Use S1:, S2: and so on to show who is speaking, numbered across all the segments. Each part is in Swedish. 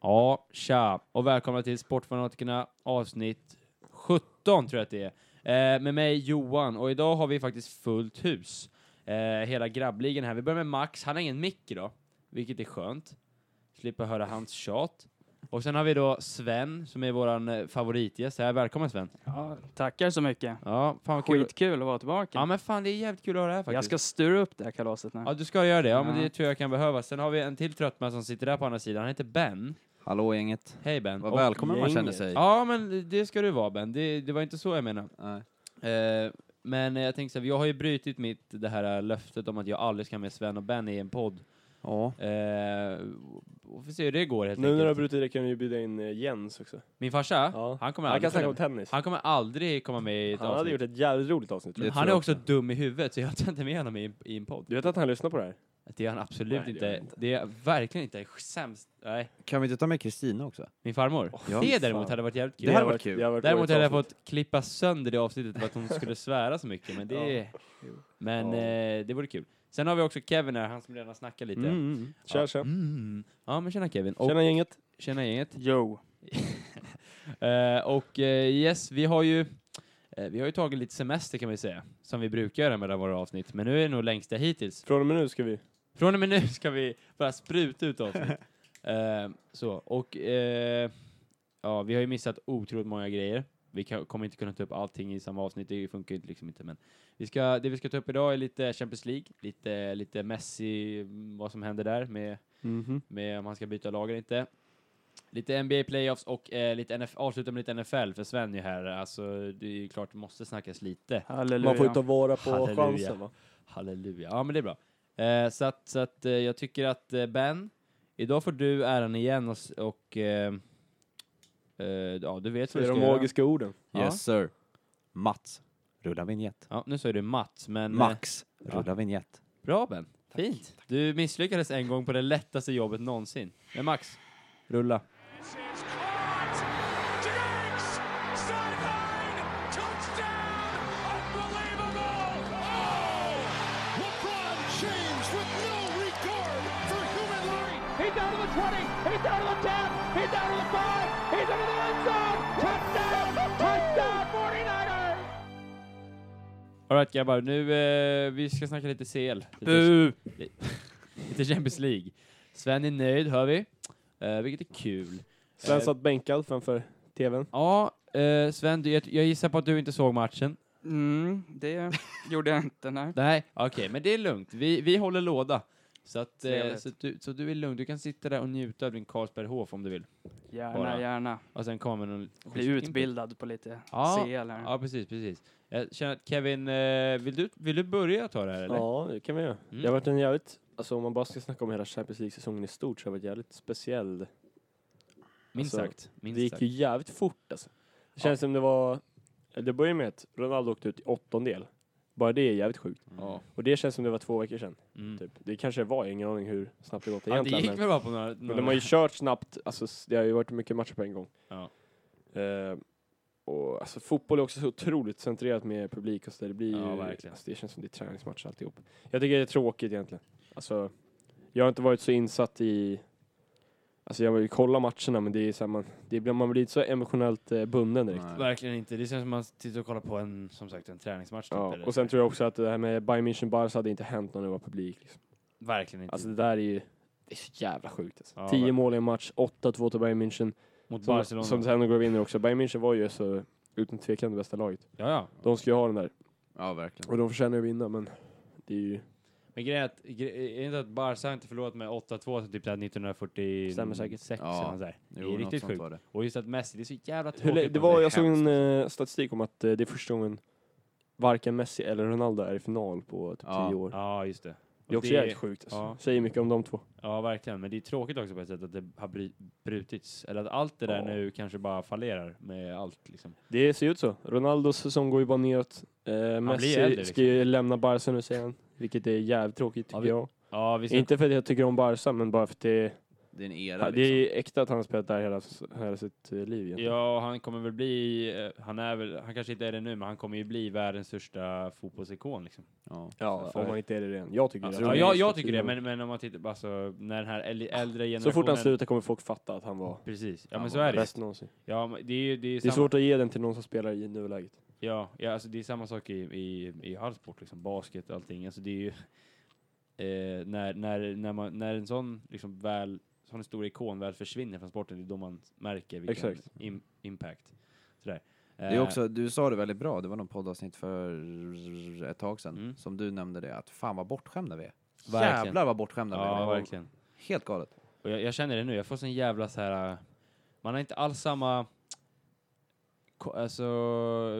S1: Ja, tja och välkomna till Sportfanatikerna avsnitt 17 tror jag att det är. Eh, med mig Johan och idag har vi faktiskt fullt hus. Eh, hela grabbligan här. Vi börjar med Max, han har ingen mick idag, vilket är skönt. Slipper höra hans tjat. Och sen har vi då Sven som är våran eh, favoritgäst här. Välkommen Sven!
S2: Ja, tackar så mycket.
S1: Ja, fan vad kul.
S2: Skitkul att vara tillbaka.
S1: Ja men fan det är jävligt kul att höra här faktiskt.
S2: jag ska styra upp det här kalaset nu.
S1: Ja, du ska göra det. Ja, men
S2: Ja.
S1: det tror jag kan behövas. Sen har vi en till trött man som sitter där på andra sidan. Han heter Ben.
S3: Hallå gänget.
S1: Hej Ben.
S3: Vad
S1: Och-
S3: välkommen man
S4: gänget.
S3: känner sig.
S1: Ja, men det ska du vara Ben. Det, det var inte så jag menade.
S3: Nej.
S1: Eh, men jag tänkte så här, jag har ju brutit mitt det här eh, löftet om att jag aldrig ska ha med Sven och Ben i en podd.
S3: Ja.
S1: Eh, och får se hur det går helt
S4: Nu när
S1: enkelt.
S4: du har brutit det kan vi ju bjuda in eh, Jens också.
S1: Min farsa,
S4: Ja.
S1: han, kommer
S4: Han kan
S1: aldrig
S4: snacka
S1: följa
S4: om
S1: med.
S4: tennis.
S1: han kommer aldrig komma med i ett
S4: Han hade
S1: avsnitt.
S4: gjort ett jävligt roligt avsnitt. tror
S1: Men
S4: jag.
S1: han är
S3: tror jag
S1: också dum i huvudet, så jag tar inte med honom i, en- i en podd.
S4: Du vet att han lyssnar på det här?
S1: Det är han absolut
S4: Nej, det
S1: inte.
S4: gör
S1: Det är,
S4: jag inte.
S1: verkligen inte sämst. Nej.
S3: Kan vi inte ta med Kristina också?
S1: Min farmor.
S3: ja.
S1: det
S4: fy
S1: däremot
S4: fan.
S1: hade varit jävligt kul.
S3: Det hade varit kul.
S4: jävligt
S1: Däremot
S4: roligt
S1: hade jag
S4: avsnitt.
S1: fått klippa sönder det avsnittet för att hon skulle svära så mycket, men det... Men
S4: Ja.
S1: eh, det vore kul. Sen har vi också Kevin här, han som redan snackat lite.
S4: Mm, mm. Tja, tja.
S1: Mm. Ja, men tjena Kevin. Och,
S4: Tjena gänget.
S1: tjena gänget.
S2: Jo.
S1: Eh, och eh, yes, vi har ju eh, vi har ju tagit lite semester kan vi säga, som vi brukar göra mellan våra avsnitt, men nu är det nog längsta hittills.
S4: Från och med nu ska vi...
S1: Från och med nu ska vi bara spruta ut avsnitt. Eh, så, och eh, ja, vi har ju missat otroligt många grejer. Vi kan, kommer inte kunna ta upp allting i samma avsnitt, det funkar ju liksom inte. Men vi ska, det vi ska ta upp idag är lite Champions League, lite, lite Messi, mm, vad som händer där med, med om han ska byta lag eller inte. Lite NBA playoffs och eh, lite NF, avsluta med lite NFL, för Sven är ju här. Alltså, det är ju klart det måste snackas lite.
S2: Halleluja.
S4: Man får ju ta vara på
S1: Halleluja.
S4: chansen va?
S1: Halleluja. Ja, men det är bra. Eh, så att, så att eh, jag tycker att eh, Ben, idag får du äran igen och, s- och eh, eh, ja, du vet vad
S4: Det
S1: du
S4: är
S1: ska
S4: de
S1: göra.
S4: magiska orden.
S1: Ja.
S3: Yes sir. Mats, rulla vignett.
S1: Ja, nu säger du Mats, men... eh,
S3: Max,
S1: ja.
S3: rulla vignett.
S1: Bra Ben. Fint. Du misslyckades en gång på det lättaste jobbet någonsin. Men Max, rulla.
S5: is caught. Diggs! Sideline! Touchdown! Unbelievable! Oh! LeBron James with no regard for human life! He's down to the 20! He's down to the 10! He's down to the 5! He's into the end zone! Touchdown! Touchdown! 49ers!
S1: Alright grabbar, nu eh, vi ska snacka lite CL. Lite,
S2: Bu!
S1: lite Champions League. Sven är nöjd, hör vi. Eh, vilket är kul.
S4: Sven
S1: Eh,
S4: satt bänkad framför tvn.
S1: Ja, eh, Sven, du, jag, jag gissar på att du inte såg matchen.
S2: Mm, det gjorde jag inte, nej.
S1: Nej, okej, men det är lugnt. Vi, vi håller låda. Så, att, eh,
S2: Trevligt.
S1: så, att du, så du är lugn. Du kan sitta där och njuta av din Carlsberg HF om du vill. Bara.
S2: Gärna, gärna.
S1: Och sen kommer någon...
S2: Bli utbildad på lite
S1: Ja,
S2: CL här.
S1: Ja, precis, precis. Jag känner att Kevin, eh, vill, du, vill du börja ta det här eller?
S4: Ja, det kan vi göra.
S1: Mm.
S4: Det har varit en jävligt... Alltså om man bara ska snacka om hela Champions League-säsongen i stort så har det varit jävligt speciell
S1: minst
S4: alltså,
S1: sagt. Minst
S4: Det gick
S1: sagt.
S4: ju jävligt fort alltså. Det känns som det var... Det började med att Ronaldo åkte ut i åttondel. Bara det är jävligt sjukt.
S3: Mm.
S1: Ja.
S4: Och det känns som det var två veckor sedan.
S1: Mm.
S4: Typ. Det kanske var, jag har ingen aning hur snabbt det gått
S1: Ja, det
S4: egentligen.
S1: gick
S4: men,
S1: väl bara på några...
S4: men de har ju kört snabbt, alltså, s- det har ju varit mycket matcher på en gång.
S1: Ja.
S4: Eh, och alltså, fotboll är också så otroligt centrerat med publik och så där. Det blir
S1: Ja,
S4: ju,
S1: verkligen.
S4: alltså, det känns som det är träningsmatch alltihop. Jag tycker det är tråkigt egentligen. Alltså, jag har inte varit så insatt i, alltså jag har ju kollat matcherna men det är så här, man, det blir, man blir inte så emotionellt eh, bunden direkt.
S3: Nej.
S1: Verkligen inte. Det känns som att man sitter och kollar på en, som sagt, en träningsmatch. Typ,
S4: Ja,
S1: eller?
S4: och sen tror jag också att det här med Bayern München-Barca hade inte hänt om det var publik. Liksom.
S1: Verkligen inte.
S4: Alltså det där är ju det är så jävla sjukt. Alltså.
S1: Ja,
S4: 10
S1: verkligen.
S4: mål i en match, 8-2 till Bayern München.
S1: Mot
S4: Som,
S1: Barcelona.
S4: som sen går vinner också. Bayern München var ju så utan tvekan det bästa laget.
S1: ja, ja.
S4: De ska ju ha den där.
S3: Ja, verkligen.
S4: Och de förtjänar ju att vinna, men det är ju...
S1: Men grejen är att, gre- är inte att Barca inte förlorat med 8-2 sen typ där 1946
S4: Stämmer säkert.
S1: eller
S3: Ja.
S1: nåt där. Det
S3: Jo,
S1: är riktigt
S3: något sånt
S1: sjukt.
S3: var det.
S1: Och just att Messi, det är så jävla
S4: Hur, lä-
S1: tråkigt.
S4: det var,
S3: det är
S4: jag såg en
S3: hemskt.
S4: eh, statistik om att eh, det är första gången varken Messi eller Ronaldo är i final på typ 10
S3: Ja.
S4: år.
S1: Ja, just det. Och
S4: Det är också jävligt sjukt. Alltså.
S1: ja.
S4: Säger mycket om de två.
S1: Ja, verkligen. Men det är tråkigt också på ett sätt att det har bry- brutits. Eller att allt det där
S4: Ja.
S1: nu kanske bara fallerar med allt liksom.
S4: Det ser ut så. Ronaldos säsong går ju bara neråt. Eh, Messi
S1: blir äldre,
S4: ska ju lämna Barca nu sen, vilket är jävligt tråkigt
S1: Ja,
S4: tycker
S1: vi-
S4: jag.
S1: Ja, vi ska...
S4: Inte för att jag tycker om Barca, men bara för att det,
S3: det är en era
S4: Ja, Det
S3: liksom.
S4: är äkta att han har spelat där hela, s- hela sitt eh, liv egentligen.
S1: Ja, han kommer väl bli, eh, han är väl, han kanske inte är det nu, men han kommer ju bli världens största fotbollsikon liksom.
S3: Ja.
S4: Ja,
S1: för-
S4: om han inte är det redan. Jag tycker
S3: Alltså,
S4: det.
S1: Ja,
S3: Rooney
S1: jag, jag tycker det, men, men om man tittar på alltså, när den här äl- äldre generationen...
S4: Så fort han slutar kommer folk fatta att han var
S1: Precis, ja
S3: Han
S1: men så
S3: var
S1: är det ju.
S4: bäst någonsin.
S1: Ja, men det är ju det är ju
S4: Det är
S1: samma,
S4: svårt att ge den till någon som spelar i nuläget.
S1: Ja, ja alltså, det är samma sak i, i, i all sport liksom, basket och allting. Alltså det är ju... Eh, när, när, när, man, när en sån liksom väl, sån stor ikon väl försvinner från sporten, det är då man märker vilken
S4: Exakt.
S1: im, impact. Sådär.
S3: Det är också, du sa det väldigt bra, det var någon poddavsnitt för ett tag sedan
S1: Mm.
S3: som du nämnde det, att fan vad bortskämda vi är.
S1: Eh, Verkligen.
S3: Jävlar vad bortskämda vi är.
S1: Ja,
S3: Det var
S1: verkligen.
S3: Helt galet.
S1: Och jag, jag känner det nu, jag får sån jävla så här. äh, Man har inte alls samma ko- alltså,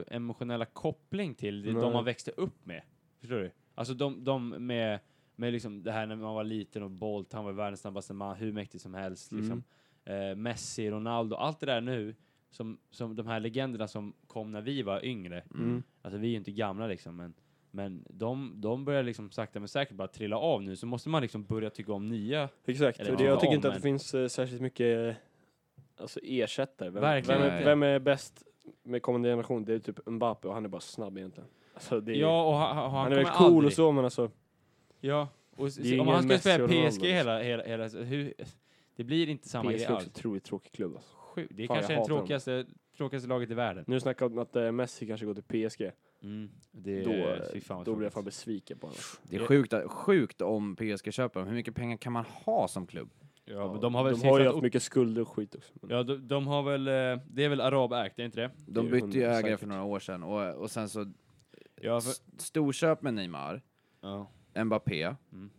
S1: emotionella koppling till det,
S4: Nej.
S1: de man växte upp med. Förstår du? Alltså de, de med, med liksom det här när man var liten och Bolt, han var världens snabbaste man, hur mäktig som helst.
S4: Mm.
S1: Liksom. Eh, Messi, Ronaldo, allt det där nu, som, som de här legenderna som kom när vi var yngre.
S4: Mm.
S1: Alltså vi är ju inte gamla liksom, men, men de, de börjar liksom sakta men säkert bara trilla av nu, så måste man liksom börja tycka om nya
S4: Exakt,
S1: Eller
S4: och det,
S1: ja.
S4: jag tycker inte
S1: Om
S4: att det
S1: en.
S4: finns eh, särskilt mycket eh, alltså, ersättare. Vem,
S1: Verkligen
S4: vem, är,
S3: inte.
S4: vem är bäst med kommande generation? Det är typ Mbappe och han är bara snabb egentligen. Alltså, det är,
S1: Ja, och han, han,
S4: han är
S1: kommer
S4: väl cool
S1: aldrig.
S4: och så men alltså,
S1: Ja, och s-
S4: Det är
S1: om
S4: ingen
S1: han ska
S4: Messi
S1: spela
S4: och Ronaldo,
S1: PSG hela, hela, hela så hur, det blir inte samma
S4: PSG
S1: grej
S4: är också
S1: alls.
S4: en otroligt tråkig klubb. Alltså.
S1: Sju, det är
S4: Fan,
S1: kanske
S4: jag
S1: det
S4: hatar dem.
S1: tråkigaste, tråkigaste laget i världen.
S4: Nu snackar jag om att eh, Messi kanske går till PSG.
S1: Mm, det,
S4: då
S1: fy fan vad
S4: då blir jag
S1: tråkigt.
S4: fan besviken på honom. alltså.
S3: Det är
S1: Ja.
S3: sjukt, att- sjukt om PSG köper dem. Hur mycket pengar kan man ha som klubb?
S1: Ja, men de har väl
S4: de har ju
S1: säkert-
S4: haft mycket skulder och skit också. Men,
S1: Ja, de, de har väl, eh, det är väl arabägt, är inte det?
S3: De
S4: Det är
S3: bytte ju
S4: hundra
S3: ägare
S4: säkert.
S3: för några år sedan och, och sen så
S1: Ja, för,
S3: st- storköp med Neymar,
S1: ja.
S3: Mbappé.
S1: Mm.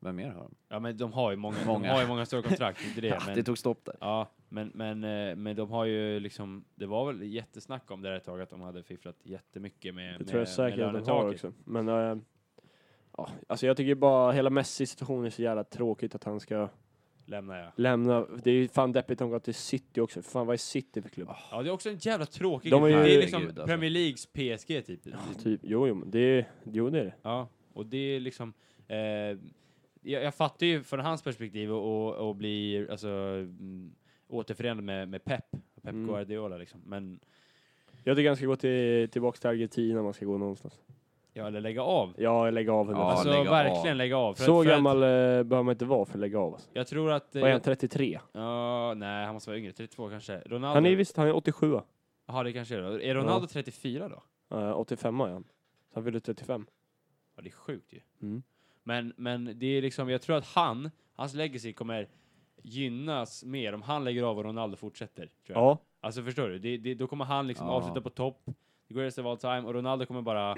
S3: Vem mer har de?
S1: ja, men de har ju många,
S3: Många.
S1: De har ju många stora kontrakt, inte det.
S3: Ja,
S1: Men,
S3: det tog stopp där.
S1: Ja, men, men, eh, men de har ju liksom, det var väl jättesnack om det där ett tag att de hade fifflat jättemycket med
S4: det
S1: med-
S4: tror jag
S1: med
S4: säkert att de har
S1: lönetaket.
S4: också. Men eh, ja, alltså jag tycker bara hela Messi-situationen är så jävla tråkigt att han ska
S1: Lämnar jag.
S4: lämna. Det är ju fan deppigt att han går till City också. Fan vad är City för klubb?
S1: Ja, det är också en jävla tråkig
S4: De
S1: de
S4: är
S1: är
S4: ju-
S1: Det är liksom
S3: Herregud, alltså.
S1: Premier Leages PSG typ. Ja,
S4: Typ, jo, jo, men det är, jo, det är det.
S1: och det är liksom... Eh, jag, jag fattar ju från hans perspektiv och, och, och bli alltså, mm, återförenad med, med Pep, och Pep
S4: Mm.
S1: Guardiola liksom. Men,
S4: Jag tycker han ska gå till, tillbaka till Argentina om man ska gå någonstans.
S1: ja, eller lägga av.
S4: Ja, lägga av.
S3: Ja,
S1: alltså
S3: lägga av.
S1: verkligen lägga av. För
S4: så
S1: att, för
S4: gammal eh, behöver man inte vara för att lägga av. Alltså.
S1: Att, jag tror att... eh,
S4: Vad är han, 33?
S1: ja, nej, han måste vara yngre. 32 kanske. Ronaldo...
S4: Han är visst, han är 87. Uh,
S1: Jaha, det kanske är det. Är Ronaldo 34 då?
S4: 85 Eh, är han. Så han fyller 35.
S1: Ja, det är sjukt ju.
S4: Mm.
S1: Men, men det är liksom, jag tror att han, hans legacy kommer gynnas mer om han lägger av och Ronaldo fortsätter. Tror jag.
S4: Ja,
S1: Alltså förstår du? Det, det, då kommer han liksom
S3: Ja.
S1: avsluta på topp, det går rest of all time, och Ronaldo kommer bara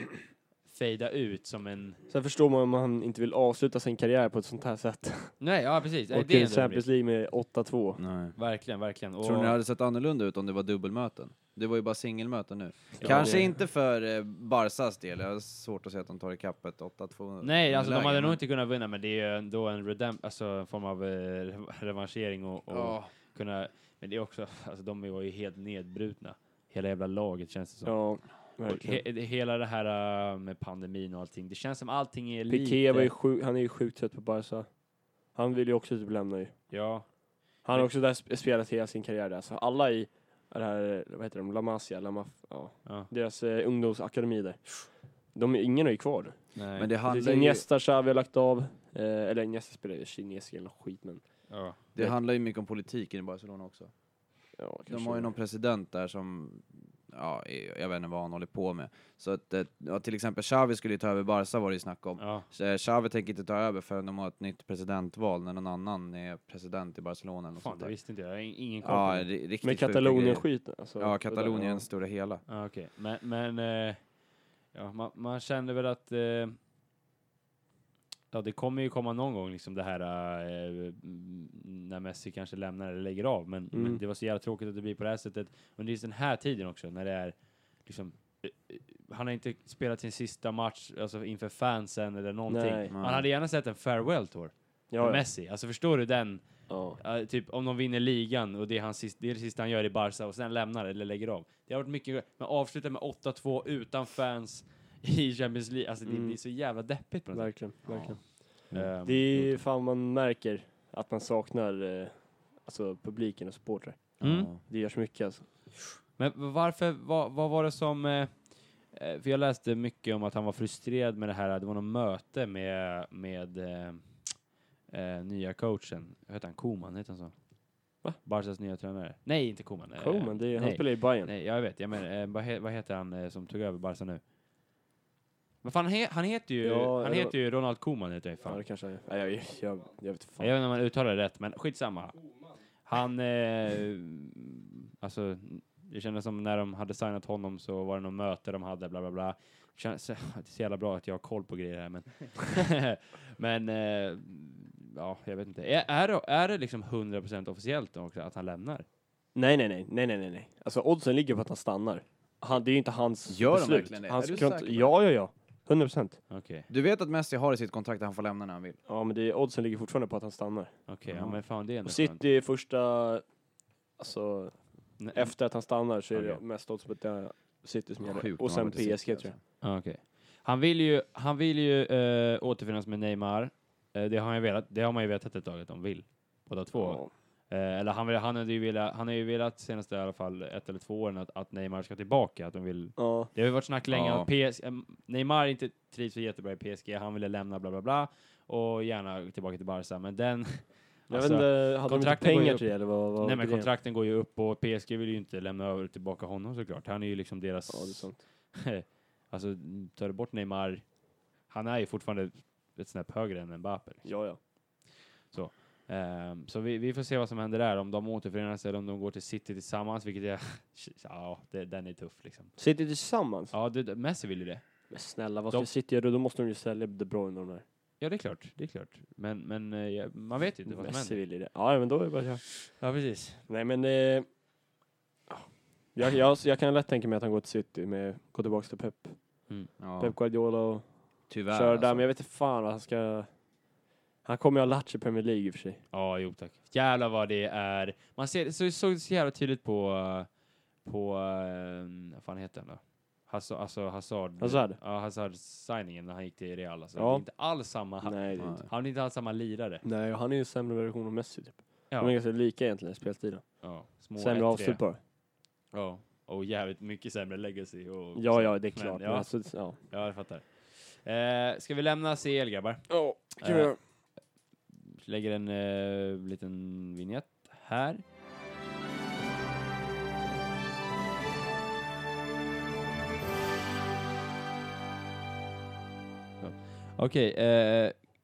S1: fejda ut som en...
S4: sen förstår man om han inte vill avsluta sin karriär på ett sånt här sätt.
S1: Nej, ja precis. Nej,
S4: Och
S1: det
S4: i
S1: är ändå
S4: Champions
S1: roligt.
S4: League med 8-2.
S3: Nej.
S1: Verkligen, verkligen. Och,
S3: Tror ni det hade sett annorlunda ut om det var dubbelmöten? Det var ju bara singelmöten nu.
S4: Ja,
S3: Kanske
S4: det-
S3: inte för eh, Barsas del, jag har svårt att se att de tar ikapp ett 8-2
S1: Nej, alltså de
S3: underläge,
S1: hade
S3: men-
S1: nog inte kunnat vinna, men det är ju ändå en, redem- alltså, en form av eh, re- revanschering och, och
S3: Ja,
S1: kunna... Men det är också, alltså de var ju helt nedbrutna. Hela jävla laget känns det som.
S4: Ja,
S1: Och
S4: verkligen.
S1: he, det- hela det här äh, med pandemin och allting, det känns som allting är
S4: Piqué
S1: lite...
S4: var ju sjuk, han är ju sjukt trött på Barca. Han vill ju också typ lämna ju.
S1: Ja,
S4: Han har också där sp- spelat hela sin karriär där. Så alla i det här, vad heter de, La Masia, La Maf- ja.
S1: ja.
S4: deras eh, ungdomsakademi där. De, ingen är ju kvar nu.
S1: Nej.
S3: men det handlar, ju,
S4: Iniesta, Xavi har lagt av. Eh, eller Iniesta spelar ju kinesiska eller något skit men...
S1: ja.
S3: det handlar ju mycket om politiken i Barcelona också.
S4: Ja,
S3: De
S4: kanske-
S3: har ju någon president där som, ja, är- jag vet inte vad han håller på med. Så att, eh, ja, till exempel Xavi skulle ju ta över Barca var det ju snack om.
S1: ja.
S3: Så, eh, Xavi tänker inte ta över förrän de har ett nytt presidentval, när någon annan är president i Barcelona eller något
S1: Fan,
S3: sånt
S1: det
S3: där.
S1: visste inte jag. Jag har in- ingen koll
S3: Ja,
S1: på
S3: ri-
S1: det.
S3: riktigt
S4: Men
S3: sjuka grejer.
S4: Katalonien-skiten alltså.
S3: Ja,
S4: det där,
S3: Katalonien
S4: ja.
S3: stora hela.
S1: Ja, okej. Men, men eh, ja, man, man känner väl att eh, ja, det kommer ju komma någon gång liksom det här eh, mm, när Messi kanske lämnar eller lägger av. Men,
S4: Mm.
S1: men det var så jävla tråkigt att det blir på det här sättet. Men det är just den här tiden också när det är liksom eh, eh, han har inte spelat sin sista match alltså inför fansen eller någonting.
S4: Nej.
S3: Mm.
S1: Man hade gärna sett en farewell tour
S4: Ja,
S1: med
S4: ja.
S1: Messi. Alltså förstår du den?
S4: ja.
S1: Ja, typ om de vinner ligan och det är, hans sist, det är det sista han gör i Barca och sen lämnar eller lägger av. Det har varit mycket, men avsluta med 8-2 utan fans i Champions League. Alltså det,
S4: Mm.
S1: det är så jävla deppigt på något sätt.
S4: Verkligen, verkligen.
S1: Ehm,
S4: Det är fan man märker Att man saknar eh, alltså, publiken och supportrar.
S1: Mm.
S3: Ja.
S4: Det görs mycket alltså.
S1: Men varför, vad, vad var det som... eh, eh, För jag läste mycket om att han var frustrerad med det här, det var något möte med, med eh, eh, nya coachen. Hette han Koman? Hette han så?
S4: Va?
S1: Barcas nya tränare. Nej, inte Koman. eh,
S4: Coleman, det är, han
S1: nej.
S4: spelar i Bayern.
S1: Nej, jag vet. Jag menar, eh, vad, he, vad heter han eh, som tog över Barca nu? Vad fan, han, he, han heter ju,
S4: Ja,
S1: han
S4: det
S1: heter ju Ronald Koman heter han ju
S4: Ja,
S1: fan.
S4: det kanske är. Nej, jag, jag, jag vet fan.
S1: Jag vet inte om man uttalar det rätt, men skitsamma. Han, eh, alltså, det kändes som när de hade signat honom så var det något möte de hade, bla bla bla. Känns, det är så jävla bra att jag har koll på grejer här, men... men, eh, ja, jag vet inte. Är, är, det, är det liksom 100% officiellt då också, att han lämnar?
S4: Nej, nej, nej, nej, nej, nej, nej. Alltså oddsen ligger på att han stannar. Han, det är ju inte hans
S3: Gör de
S4: beslut.
S3: verkligen det?
S4: Han
S3: Är du
S4: skulle
S3: säker på
S4: inte,
S3: det?
S4: ja, ja, ja. 100 procent.
S1: Okej,
S3: Du vet att Messi har i sitt kontrakt att han får lämna när han vill?
S4: Ja, men det är, oddsen ligger fortfarande på att han stannar.
S1: okej, ja
S3: Mm.
S1: men fan det är ändå
S4: Och City är första, alltså
S1: skönt. Nej,
S4: efter att han stannar så är det
S1: Okej.
S4: mest odds på att det är City som gäller.
S3: Sjukt
S4: Och
S3: om han
S4: sen
S3: går till City,
S4: PSG tror jag.
S3: alltså.
S1: Ja, Okej. Han vill ju, han vill ju eh, återfinnas med Neymar. Eh, det, har han ju velat, det har man ju vetat ett tag att de vill. Båda två.
S4: Ja.
S1: Eh, eller han, vill, han, hade ju velat, han har ju velat senaste i alla fall ett eller två åren att, att Neymar ska tillbaka. Att de vill,
S4: Ja.
S1: det har ju varit snack länge
S3: Ja.
S1: att PS, eh, Neymar inte trivs så jättebra i PSG. Han ville lämna bla bla bla. Och gärna tillbaka till Barca. Men den...
S4: Jag
S1: Alltså,
S4: vet inte, hade de inte
S1: kontrakten går ju
S4: pengar
S1: upp.
S4: till det eller vad? vad
S1: nej men
S4: grejen?
S1: kontrakten går ju upp och PSG vill ju inte lämna över tillbaka honom såklart. Han är ju liksom deras...
S4: Ja, det är sant.
S1: alltså, tar du bort Neymar... Han är ju fortfarande ett snäpp högre än Mbappé.
S4: Ja, ja.
S1: Ehm, så vi, vi får se vad som händer där, om de återförenas eller om de går till City tillsammans, vilket är... ja, det, den är tuff liksom.
S4: City tillsammans?
S1: Ja, det, det- Messi vill ju det.
S4: Men snälla, vad
S1: De-
S4: ska City göra då? Då måste de ju sälja De Bruyne och de där.
S1: Ja, det är klart. Det är klart. Men, men eh, ja, man vet ju inte vad som
S4: Messi
S1: händer.
S4: vill ju det. Ja, men då är det bara
S1: Ja, precis.
S4: Nej men eh, jag, jag, jag kan lätt tänka mig att han går till City med, går tillbaka till Pep,
S3: Ja,
S4: Pep Guardiola och
S3: tyvärr
S4: kör där.
S3: alltså.
S4: Men jag vet inte fan vad han ska... Han kommer ju ha latch i Premier League i och för sig.
S1: Ja, jo tack. Jävlar vad det är. Man ser, så, såg det så jävla tydligt på... eh, På... eh, vad fan heter han då? Hazard, alltså Hazard.
S4: Hazard?
S1: Ja, Hazard-signingen när han gick till Real. Alltså.
S4: Ja.
S1: Det är inte alls samma...
S4: Nej, det är
S3: Nej.
S4: inte.
S1: Han är inte alls samma lirare.
S4: Nej, och han är ju en sämre version av Messi typ. De är
S1: Ja.
S4: ganska lika egentligen i spelstilen.
S1: ja. Små 1-3.
S4: Sämre avslut bara.
S1: Ja, och jävligt mycket sämre legacy. Och
S4: Ja, ja, det är
S1: Men,
S4: klart. Men,
S1: ja.
S4: alltså, ja.
S1: Ja, jag fattar. Eh, ska vi lämna CL, grabbar?
S4: Ja,
S1: kan vi Eh, göra. Lägger en eh, liten vignett här. Så. Okej, eh,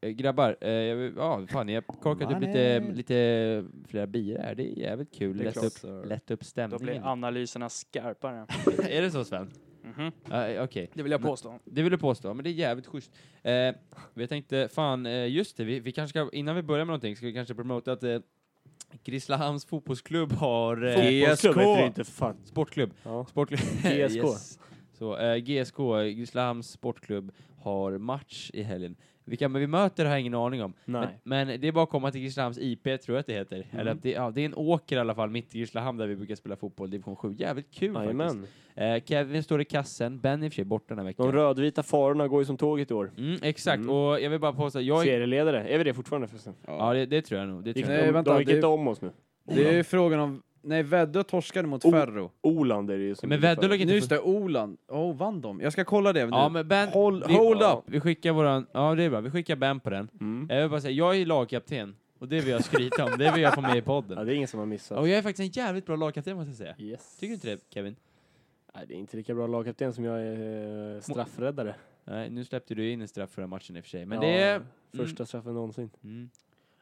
S1: eh, grabbar. Eh, jag vill- ja, fan, jag har korkat upp lite,
S3: Money.
S1: lite flera bier här. Det är jävligt kul.
S4: Det är
S1: Lätt
S4: klart,
S1: upp,
S3: sir.
S1: lätt upp
S2: Då
S1: stämningen.
S2: blir analyserna skarpare.
S1: är det så, Sven?
S2: Mhm.
S1: Ja, eh, Okej.
S2: Det vill jag
S1: Men-
S2: påstå.
S1: Det vill du påstå, men det är jävligt schysst. Eh, vi tänkte, fan, eh, just det, vi, vi kanske ska, innan vi börjar med någonting, ska vi kanske promota att eh, Grisslehamns fotbollsklubb har... Eh,
S4: GSK! Heter det inte fan.
S1: sportklubb.
S4: Ja.
S1: Sportklubb.
S4: GSK.
S1: yes. Så, eh, GSK, Grisslehamns sportklubb, har match i helgen. Vilka men vi möter har jag ingen aning om.
S4: Nej. Mm.
S1: Men, men det är bara att komma till Grisslehamns IP, tror jag att det heter. Eller att det, ja, det är en åker i alla fall, mitt i Grisslehamn, där vi brukar spela fotboll, division 7. Jävligt kul faktiskt.
S4: Jajamän.
S1: Eh, Kevin står i kassen, Ben är i och för sig borta den här veckan.
S4: De rödvita farorna går ju som tåget i år.
S1: Mm, exakt,
S4: Mm.
S1: och jag vill bara påstå, jag är,
S4: Serieledare. Är vi det fortfarande förresten?
S1: ja, det, det tror jag nog. Det
S4: Gick
S1: tror
S3: Nej,
S1: jag. nog.
S4: de,
S3: vänta,
S4: de gick
S3: det-
S4: inte om oss nu.
S3: Det är ju frågan om... Nej, Väddö torskade mot
S4: Oh.
S3: Ferro.
S4: Oland är det ju som
S1: Men
S4: ligger
S1: Väddö
S4: före.
S1: låg
S3: Nu just
S1: inte...
S3: det, Oland. Åh, vann de? Jag ska kolla det nu.
S1: Ja, men Ben,
S3: Hold,
S1: vi-
S3: hold
S4: ja.
S3: up!
S1: vi skickar våran, ja det är bra, vi skickar Ben på den.
S4: Mm.
S1: Jag vill bara säga, jag är lagkapten, och det vill jag skryta om, det vill jag få med i
S4: Ja,
S1: podden.
S4: det är ingen som har missat.
S1: Och jag är faktiskt en jävligt bra lagkapten måste jag säga.
S4: Yes.
S1: Tycker du inte det Kevin?
S4: Nej, det är inte lika bra lagkapten som jag är eh, straffräddare.
S1: Nej, nu släppte du in en straff förra matchen i och för sig, men
S4: Ja,
S1: det är...
S4: Första straffen någonsin.
S1: Mm.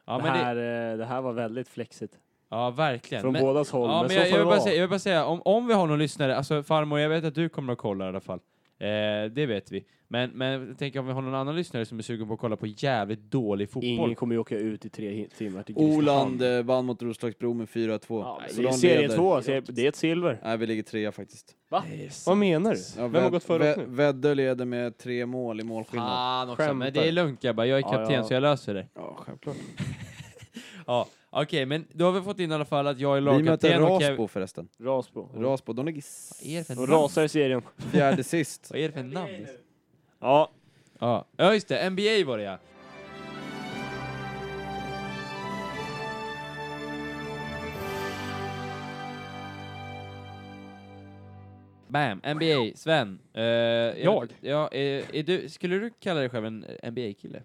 S1: Ja,
S4: det,
S1: men det,
S4: här, eh, det här var väldigt flexigt.
S1: ja, verkligen.
S4: Från
S1: men,
S4: bådas håll,
S1: Ja,
S4: men,
S1: men
S4: så
S1: jag, jag,
S4: får det
S1: vill bara
S4: vara.
S1: säga, jag vill bara säga, om, om vi har någon lyssnare, alltså farmor, jag vet att du kommer att kolla i alla fall. Eh, det vet vi. Men, men jag tänker om vi har någon annan lyssnare som är sugen på att kolla på jävligt dålig fotboll.
S4: Ingen kommer ju åka ut i tre hi- timmar till
S3: Oland eh, vann mot Roslagsbro med 4-2.
S4: Ja, men
S3: Så
S4: det är
S3: de
S4: serie
S3: leder.
S4: två, så jag- det är ett silver.
S3: Nej, vi ligger trea faktiskt.
S1: Yes.
S4: Vad menar du?
S3: Ja,
S4: Vem har
S3: Väd-
S4: gått före oss
S3: Vä-
S4: nu?
S3: Väddö leder med tre mål i målskillnad.
S1: Fan också, men
S4: Skämtar.
S1: det är lugnt grabbar, jag är
S4: Ja,
S1: kapten
S4: ja.
S1: så jag löser det.
S3: Ja, självklart.
S1: Ja, okej, men då har vi fått in i alla fall att jag är
S3: Vi möter
S1: lagkapten och Kev-
S3: Rasbo förresten.
S4: Rasbo.
S3: Rasbo, de ligger s-
S1: Vad är det för
S4: De
S1: namn?
S4: rasar i serien.
S3: fjärde sist.
S1: Vad är det för namn?
S4: Ja,
S1: Ja, ja just det, NBA var det ja. Bam! NBA, Sven. Eh, jag?
S2: Jag?
S1: vet- Ja, eh, är du, skulle du kalla dig själv en NBA-kille?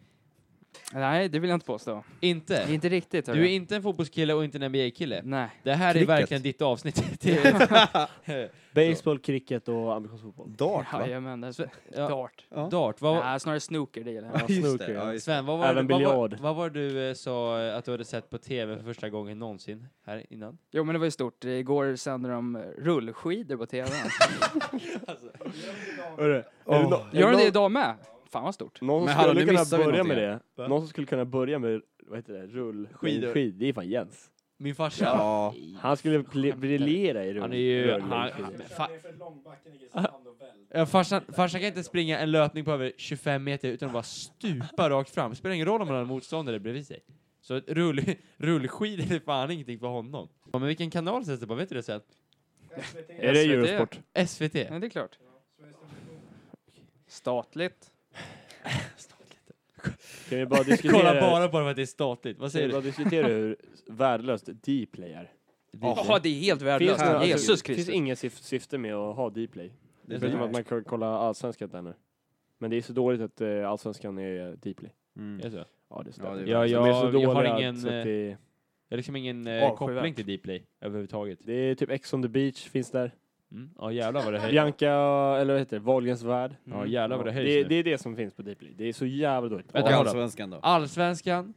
S2: Nej, det vill jag inte påstå. Det är
S1: Inte?
S2: inte riktigt. hörru.
S1: Du är inte en fotbollskille och inte en NBA-kille.
S2: Nej.
S1: Det här
S3: Cricket.
S1: är verkligen ditt avsnitt. Det-
S6: Baseball, cricket och amerikansk fotboll.
S3: Dart va?
S2: Jajamän, det är
S1: Sve-
S2: så-
S1: ja,
S2: dart.
S1: dart, vad,
S2: Nej, snarare snooker det gillar
S3: Ja,
S2: jag.
S3: just det.
S4: snooker.
S3: Ja, just det.
S1: Sven, vad var,
S6: Även
S1: vad, var,
S6: biljard.
S1: vad var du eh, sa eh, att du hade sett på TV för första gången någonsin här innan?
S2: Jo, men det var ju stort. Igår sände de eh, rullskidor på TV.
S4: Hörru, är det nå- är
S2: Gör de
S4: nå-
S2: det idag med? Fan vad stort.
S4: Någon
S3: Men
S4: som
S3: hallå,
S4: skulle
S3: nu missar vi
S4: kunna börja med
S3: någonting
S4: det.
S6: Va?
S4: Någon som skulle kunna börja med, vad heter det, rull...
S1: Skidor.
S4: Skid, det är fan Jens.
S1: Min farsa?
S3: Ja.
S4: Han skulle pl- briljera i rull.
S1: Han är ju...
S4: rull-
S1: Han,
S4: skidor.
S1: men fa- ja, farsan, farsan kan inte springa en löpning på över 25 meter utan att bara stupa rakt fram. Spelar ingen roll om han har en motståndare bredvid sig. Så ett rull, rullskidor är fan ingenting för honom. Ja, men vilken kanal sätts det på? Vet du det Sven?
S4: Är det
S1: Alltså,
S2: SVT?
S4: Eurosport?
S1: SVT?
S2: Ja, det är klart. Statligt.
S4: Kan vi bara diskutera...
S1: Kolla bara på det för att det är statligt. Vad
S4: Kan
S1: säger
S4: vi
S1: du?
S4: bara diskutera hur värdelöst Dplay är?
S2: Jaha, det är helt
S4: Finns
S2: värdelöst.
S4: det, alltså,
S2: Jesus
S4: det finns
S2: Kristus.
S4: inget syf- syfte med att ha Dplay.
S1: Det är så
S4: Förutom
S1: här.
S4: att man kan kolla allsvenskan där nu. Men det är så dåligt att eh, allsvenskan är Dplay.
S3: Mm.
S1: Är det så?
S4: Ja, det är så
S3: Ja, det är
S1: Ja,
S4: De
S1: jag,
S4: är så
S1: jag
S4: dåliga
S1: har ingen,
S4: så att
S1: eh,
S4: det,
S1: jag har liksom ingen eh,
S4: Avskyvärt.
S1: koppling till Dplay överhuvudtaget.
S4: det är typ Ex on the beach finns där.
S1: Mm. Ja jävlar vad det höjs.
S4: Bianca, eller vad heter det, Wahlgrens värld.
S1: Ja Mm. jävlar vad det höjs
S4: det,
S1: nu.
S4: det är det som finns på Dplay. Det är så jävla dåligt.
S1: Vänta,
S3: Och
S4: Ja.
S1: hold up.
S3: Allsvenskan då?
S1: Allsvenskan,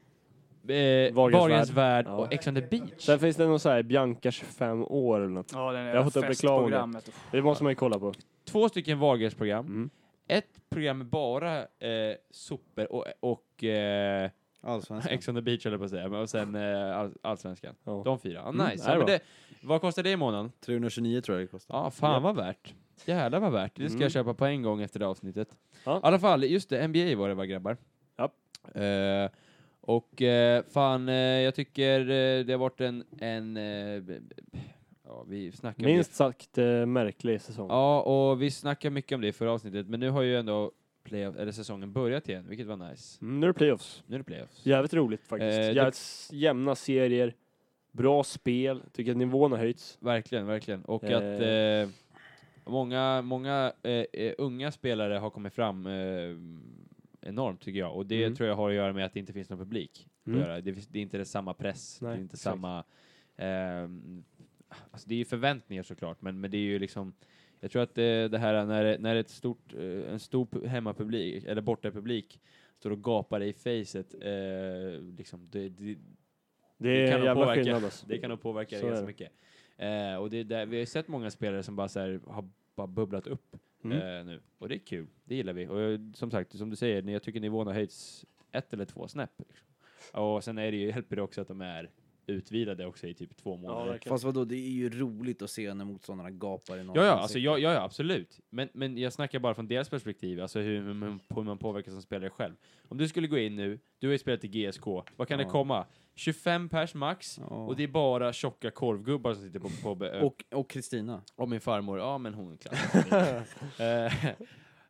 S1: eh,
S4: Wahlgrens
S1: Wahlgrens värld
S4: Ja.
S1: och Ex on the beach.
S4: Sen finns det någon så här Bianca 25 år eller något.
S2: Ja, den
S4: Jag har fått upp reklam om det.
S2: festprogrammet.
S4: Det måste man ju kolla på.
S1: Två stycken Wahlgrens-program.
S4: Mm.
S1: Ett program med bara eh, sopor och, och eh,
S3: Allsvenskan.
S1: Ex on the beach höll jag på att säga, men- och sen eh, all, Allsvenskan.
S4: Ja.
S1: De fyra. Ah,
S4: Mm,
S1: nice.
S4: det är
S1: ja, men
S4: bra.
S1: det, vad kostar det i månaden?
S3: 329 tror jag det kostar.
S1: Ja, fan
S4: Ja.
S1: vad värt. Jävlar vad värt. Det ska
S4: Mm.
S1: jag köpa på en gång efter det avsnittet.
S4: Ja.
S1: I alla fall, just det, NBA var det va grabbar?
S4: Japp.
S1: Eh, och eh, fan, eh, jag tycker eh, det har varit en... en eh, b- b- ja, vi snackar
S4: Minst sagt eh, märklig säsong.
S1: Ja, och vi snackade mycket om det i förra avsnittet, men nu har ju ändå playoff, eller säsongen börjat igen, vilket var nice.
S4: Mm, nu är det playoffs.
S1: Nu är det playoffs.
S4: Jävligt roligt faktiskt.
S1: Eh, det-
S4: Jävligt s- jämna serier, bra spel, tycker att nivån har höjts.
S1: Verkligen, verkligen. Och
S4: Eh.
S1: att eh, många, många eh, eh, unga spelare har kommit fram eh, enormt tycker jag. Och det
S4: Mm.
S1: tror jag har att göra med att det inte finns någon publik. att
S4: Mm.
S1: göra. Det, finns- det är inte det samma press, det
S4: Nej,
S1: är inte
S4: exakt.
S1: samma... ehm, alltså det är ju förväntningar såklart, men, men det är ju liksom... Jag tror att eh, det här när, när ett stort, eh, en stor pu- hemmapublik, eller bortapublik, står och gapar i facet, eh, liksom, det, det,
S4: Det är
S1: det kan
S4: en
S1: nog
S4: jävla
S1: påverka.
S4: skillnad alltså.
S1: det kan nog påverka
S4: Så
S1: det
S4: är
S1: ganska
S4: det.
S1: mycket. Eh, och det är där, vi har ju sett många spelare som bara så här, har bara bubblat upp
S4: Mm.
S1: eh, nu. Och det är kul, det gillar vi. Och jag, som sagt, som du säger, ni- jag tycker nivån har höjts ett eller två snäpp. Liksom. Och sen är det ju, hjälper det också att de är utvilade också i typ två
S4: Ja,
S1: månader.
S4: verkligen.
S3: Fast vadå, det är ju roligt att se när motståndarna gapar i någon
S1: Ja, ja, alltså,
S3: ansikte.
S1: ja, ja, ja, absolut. Men, men jag snackar bara från deras perspektiv, alltså hur, hur, man- hur man påverkas som spelare själv. Om du skulle gå in nu, du har ju spelat i GSK, vad kan det
S3: Ja.
S1: komma? 25 pers max,
S3: Ja.
S1: och det är bara tjocka korvgubbar som sitter på, på, på
S3: Och, och Kristina.
S1: Och min farmor, ja men hon klassar eh,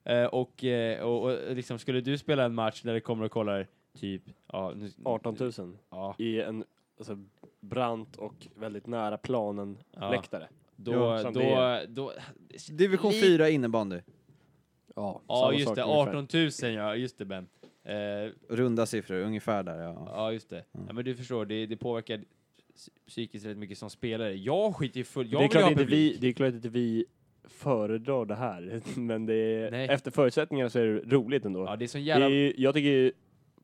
S1: eh, och, eh, och, och liksom, skulle du spela en match där det kommer och kollar typ, ja, nu,
S4: 18 000
S1: ja,
S4: i en alltså, brant och väldigt nära planen
S1: Ja.
S4: läktare.
S1: då,
S4: Ja,
S1: då,
S4: som det
S1: då,
S4: är.
S3: Division 4 innebandy.
S4: Ja,
S1: ja just det, 18 000 ja, just det Ben. Eh,
S3: Runda siffror, ungefär där ja.
S1: ja just det, ja, men du förstår, det, det påverkar psy- psykiskt rätt mycket som spelare. Jag skiter ju full, jag
S4: det, är
S1: vill ju
S4: klart
S1: ha
S4: inte vi,
S1: publik.
S4: det är klart inte vi föredrar det här, men det är,
S1: Nej.
S4: efter förutsättningarna så är det roligt ändå.
S1: Ja det är sån
S4: det är,
S1: jävla,
S4: ju- jag tycker ju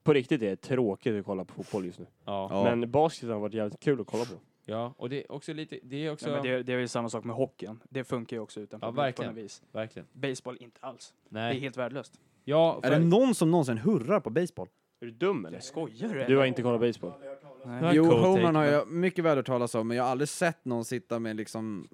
S4: på riktigt det är tråkigt att kolla på fotboll just nu.
S1: ja,
S3: Ja.
S4: Men basket har varit jävligt kul att kolla på.
S1: ja, och det är också lite, det är också,
S2: Ja, men det, det är ju samma sak med hockeyn. Det funkar ju också utan
S1: Ja,
S2: publik på
S1: verkligen.
S2: något vis.
S1: verkligen.
S2: Baseball inte alls. Det är
S1: Nej.
S2: helt värdelöst.
S1: Ja,
S3: Är det någon som någonsin hurrar på baseball?
S4: Är du dum eller?
S2: Skojar du?
S4: Du har inte kollat baseball?
S2: Nej.
S3: Jo,
S1: Cool take,
S3: homerun har
S1: men-
S3: jag mycket väl hört talas om, men jag har aldrig sett någon sitta med liksom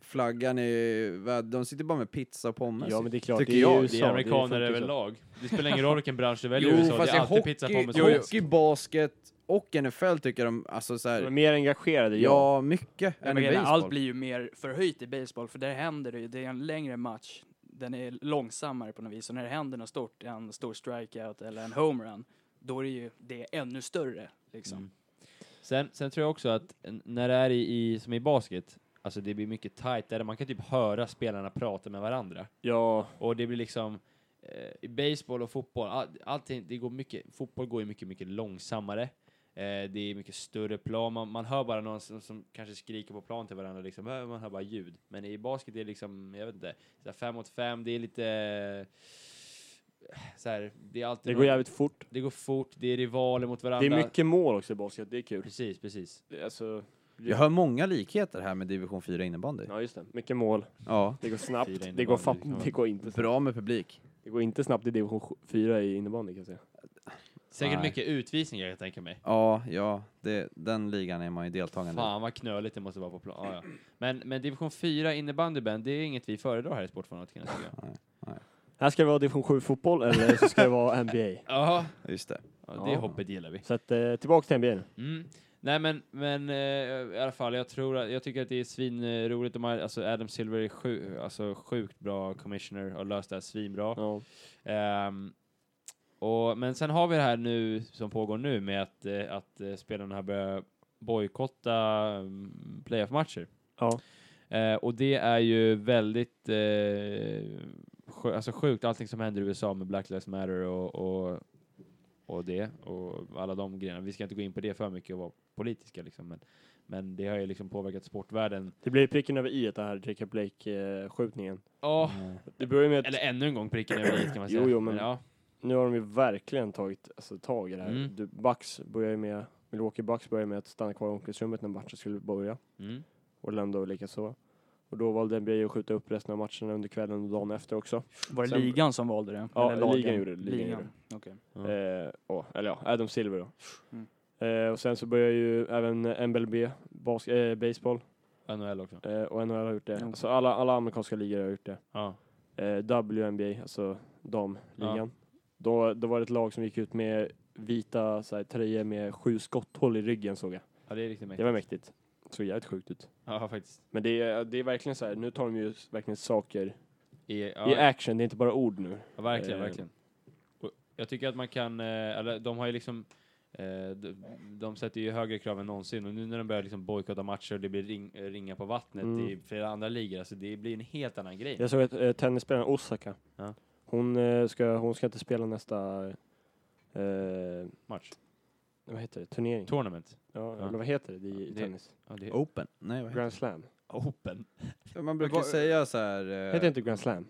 S3: flaggan i... vä- De sitter bara med pizza och pommes.
S4: Ja men det är klart,
S3: Tycker
S4: det är
S3: jag.
S4: ju
S1: Det
S4: USA,
S1: är amerikaner
S4: funkar så.
S1: överlag. Det spelar ingen roll vilken bransch du väljer
S3: Jo,
S1: i USA, det
S3: fast
S1: är
S3: jag
S1: alltid
S3: hockey,
S1: pizza, pommes
S3: jo,
S1: och
S3: hockey, basket och NFL tycker de, alltså så
S4: liksom. De är
S3: här,
S4: mer engagerade, ja.
S3: ja mycket.
S2: Jag
S3: än i
S2: menar,
S3: baseball.
S2: allt blir ju mer förhöjt i baseball för där händer det ju. Det är en längre match. Den är långsammare på något vis. Och när det händer något stort, en stor strikeout eller en homerun, då är det ju det är ännu större. Liksom.
S1: Mm. Sen, sen tror jag också att n- när det är i, i som i basket, alltså det blir mycket tajtare. Man kan typ höra spelarna prata med varandra.
S4: Ja,
S1: Och det blir liksom, eh, i baseball och fotboll, all, allting, det går mycket, fotboll går ju mycket, mycket långsammare. Eh, det är mycket större plan, man, man hör bara någon som, som kanske skriker på plan till varandra, liksom, eh, man hör bara ljud. Men i basket är det liksom, jag vet inte, så här fem mot fem, det är lite... eh, Så här, det, är alltid
S4: det går
S1: någon-
S4: jävligt fort.
S1: det går fort, det är rivaler mot
S4: Det
S1: varandra.
S4: är mycket mål också i basket, det är kul.
S1: Precis, precis.
S4: Det är Alltså,
S3: Jag hör många likheter här med division 4 innebandy.
S4: ja just det, mycket mål.
S3: Ja.
S4: Det går
S1: Fyra
S4: snabbt, det
S1: innebandy,
S4: går,
S1: det kan
S4: fa-
S1: man-
S4: det går inte snabbt.
S3: Bra med publik.
S4: Det går inte snabbt i division 4 i innebandy kan jag säga.
S1: Säkert
S3: Nej.
S1: mycket utvisningar, jag tänker mig.
S3: Ja, ja, det, den ligan är man ju deltagande i.
S1: Fan vad knöligt det måste vara på plan. Ah, ja. men, men division 4 innebandy Ben, det är inget vi föredrar här i Sportfanatikerna tycker jag.
S6: Här ska det vara division 7 fotboll eller så ska det vara NBA.
S1: Jaha.
S3: Just det.
S1: Ja, det
S6: Ja.
S1: hoppet gillar vi.
S6: Så att, eh, tillbaka till NBA nu.
S1: Mm. Nej men, men eh, i alla fall, jag tror att, jag tycker att det är svinroligt. De har, alltså Adam Silver är sju, alltså, sjukt bra commissioner och löst det här svinbra.
S4: Ja.
S1: Ehm, och, men sen har vi det här nu som pågår nu med att, eh, att eh, spelarna har börjat bojkotta mm, playoff-matcher.
S4: Ja.
S1: Eh, och det är ju väldigt eh, sjö, alltså sjukt, allting som händer i USA med Black Lives Matter och, och, och det och alla de grejerna. Vi ska inte gå in på det för mycket och vara politiska liksom, men, men det har ju liksom påverkat sportvärlden.
S6: Det blir pricken över i det här Jacob Blake-skjutningen.
S1: Ja,
S4: Det börjar med att
S1: eller ännu en gång pricken över i kan man
S4: Jo,
S1: säga.
S4: jo, men-
S1: ja.
S4: nu har de ju verkligen tagit alltså, tag i det här.
S1: Mm.
S4: Du, Bucks börjar ju med, Milwaukee Bucks börjar med att stanna kvar i omklädningsrummet när matchen skulle börja.
S1: Mm.
S4: Orlando likaså. Och då valde NBA att skjuta upp resten av matcherna under kvällen och dagen efter också.
S2: Var det
S4: Sen-
S2: ligan som valde det?
S4: Ja,
S2: Eller lagen?
S4: ligan gjorde det, ligan gjorde
S2: okej.
S1: Ja.
S4: Eh, åh, eller ja, Adam Silver då.
S2: Mm.
S4: Eh, och sen så börjar ju även eh, MLB, bas- eh, baseball
S1: NHL också.
S4: eh, och NHL har gjort det.
S1: Mm.
S2: Jo.
S4: Alltså alla, alla amerikanska ligor har gjort det.
S1: Ja.
S4: eh, WNBA, alltså damligan. Då, då var det ett lag som gick ut med vita så här, tröjor med sju skotthål i ryggen såg jag.
S1: ja, det är riktigt
S4: Det var mäktigt. Såg jävligt sjukt ut.
S1: Ja, faktiskt.
S4: Men det är, det är verkligen så här, nu tar de ju verkligen saker
S1: I,
S4: i
S1: ja,
S4: action, det är inte bara ord nu.
S1: Ja, verkligen,
S4: Eh.
S1: verkligen. Och jag tycker att man kan, eh, eller de har ju liksom, eh, de, de sätter ju högre krav än någonsin och nu när de börjar liksom bojkotta matcher och det blir ring, eh, ringa på vattnet
S4: Mm.
S1: i flera andra ligor, alltså det blir en helt annan grej.
S4: Jag såg att eh, tennisspelaren Osaka,
S1: Ja.
S4: hon, eh, ska, hon ska inte spela nästa eh,
S1: Match.
S4: vad heter det, turnering.
S1: Tournament.
S4: ja,
S1: Ja.
S4: Eller vad heter det i
S1: Ja, det-
S4: tennis?
S1: Ja, det är
S3: Open? Nej, vad heter
S4: Grand Slam.
S1: open.
S3: det? Man brukar
S2: vad-
S3: säga så här...
S4: Heter
S3: Eh,
S4: inte Grand Slam?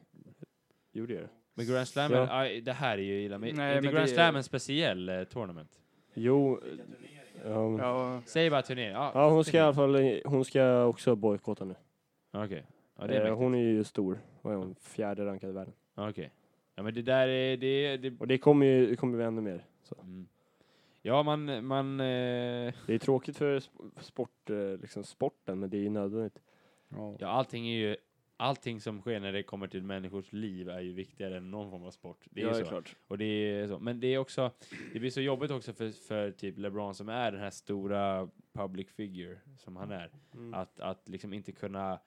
S4: Gjorde det?
S1: Men Grand Slam,
S4: Ja.
S1: är, aj, det här är ju illa. Men,
S2: Nej,
S1: Nej,
S2: men
S1: Grand
S2: det-
S1: Slam är en speciell eh, tournament.
S4: Jo. eh, ja, men-
S2: Ja,
S1: Säg bara turnering. Ja,
S4: Ja, hon ska i alla fall, hon ska också bojkotta nu.
S1: Okej. Ja, det är
S4: eh,
S1: mäktigt.
S4: hon är ju stor, vad är hon, fjärde rankad i världen.
S1: Ja, Okej. Ja, men det där är... Det, det,
S4: Och det kommer ju det kommer bli ännu mer. Så.
S1: mm. Ja, man... man eh,
S4: Det är tråkigt för sp- sport, eh, liksom sporten, men det är ju nödvändigt.
S3: ja.
S1: Ja, allting är ju... Allting som sker när det kommer till människors liv är ju viktigare än någon form av sport. Det är ju så.
S4: klart.
S1: Och det är så. Men det är också... Det blir så jobbigt också för, för typ LeBron som är den här stora public figure som han är.
S4: Mm.
S1: Att, att liksom inte kunna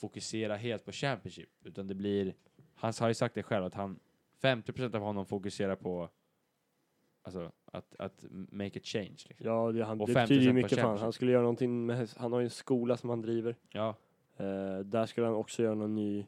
S1: fokusera helt på Championship. Utan det blir... Han har ju sagt det själv att han... 50% av honom fokuserar på... Alltså att, att make a change. Liksom.
S4: Ja, det, han,
S1: Och 50%
S4: det betyder ju
S1: på
S4: mycket för han.
S1: Championship.
S4: Han skulle göra någonting med, häst- han har ju en skola som han driver.
S1: Ja.
S4: Eh, där skulle han också göra någon ny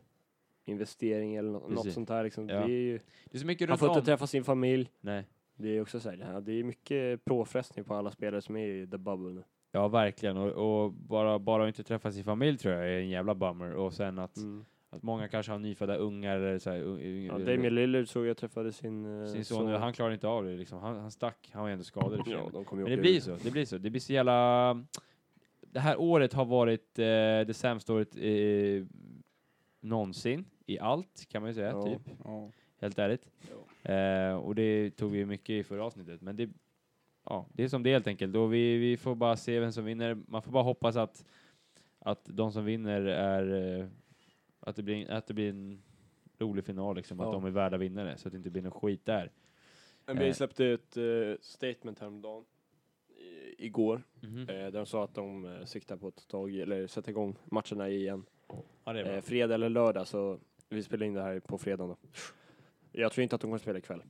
S4: investering eller nå- något
S1: Precis.
S4: sånt där. Liksom.
S1: Ja.
S4: Det är ju,
S1: Det är så mycket
S4: han
S1: runt
S4: får inte
S1: om.
S4: träffa sin familj.
S1: Nej.
S4: Det är också så här, ja, det är mycket påfrestning på alla spelare som är i the bubble nu.
S1: Ja, verkligen. Och, och bara, bara att inte träffa sin familj tror jag är en jävla bummer. Och sen att,
S4: Mm.
S1: att många kanske har nyfödda ungar eller så här, u- u-
S4: Ja, Damien Lillard såg jag träffade sin, eh,
S1: sin son. nu, Han klarar inte av det liksom. Han, han stack. Han var ju ändå skadad. i och för sig.
S4: Ja, de kommer ju
S1: Men det
S4: åka
S1: blir
S4: ur.
S1: så. Det blir så. Det blir så jävla... Det här året har varit eh, det sämsta året eh, någonsin. I allt, kan man ju säga.
S4: Ja.
S1: Typ.
S3: Ja.
S1: Helt ärligt. Eh, och det tog vi mycket i förra avsnittet. Men det, ja, det är som det är helt enkelt. Och vi, vi får bara se vem som vinner. Man får bara hoppas att, att de som vinner är... Eh, att, det blir, att det blir en rolig final, liksom.
S4: Ja.
S1: Att de är värda vinnare, så att det inte blir någon skit där. Eh.
S4: NBA släppte ett eh, statement häromdagen, i- igår,
S3: Mhm.
S4: eh, där de sa att de eh, siktar på att tag, eller sätta igång matcherna igen.
S1: Ja, det är bra.
S4: Eh, fredag eller lördag, så vi spelar in det här på fredag då. Jag tror inte att de kommer spela ikväll.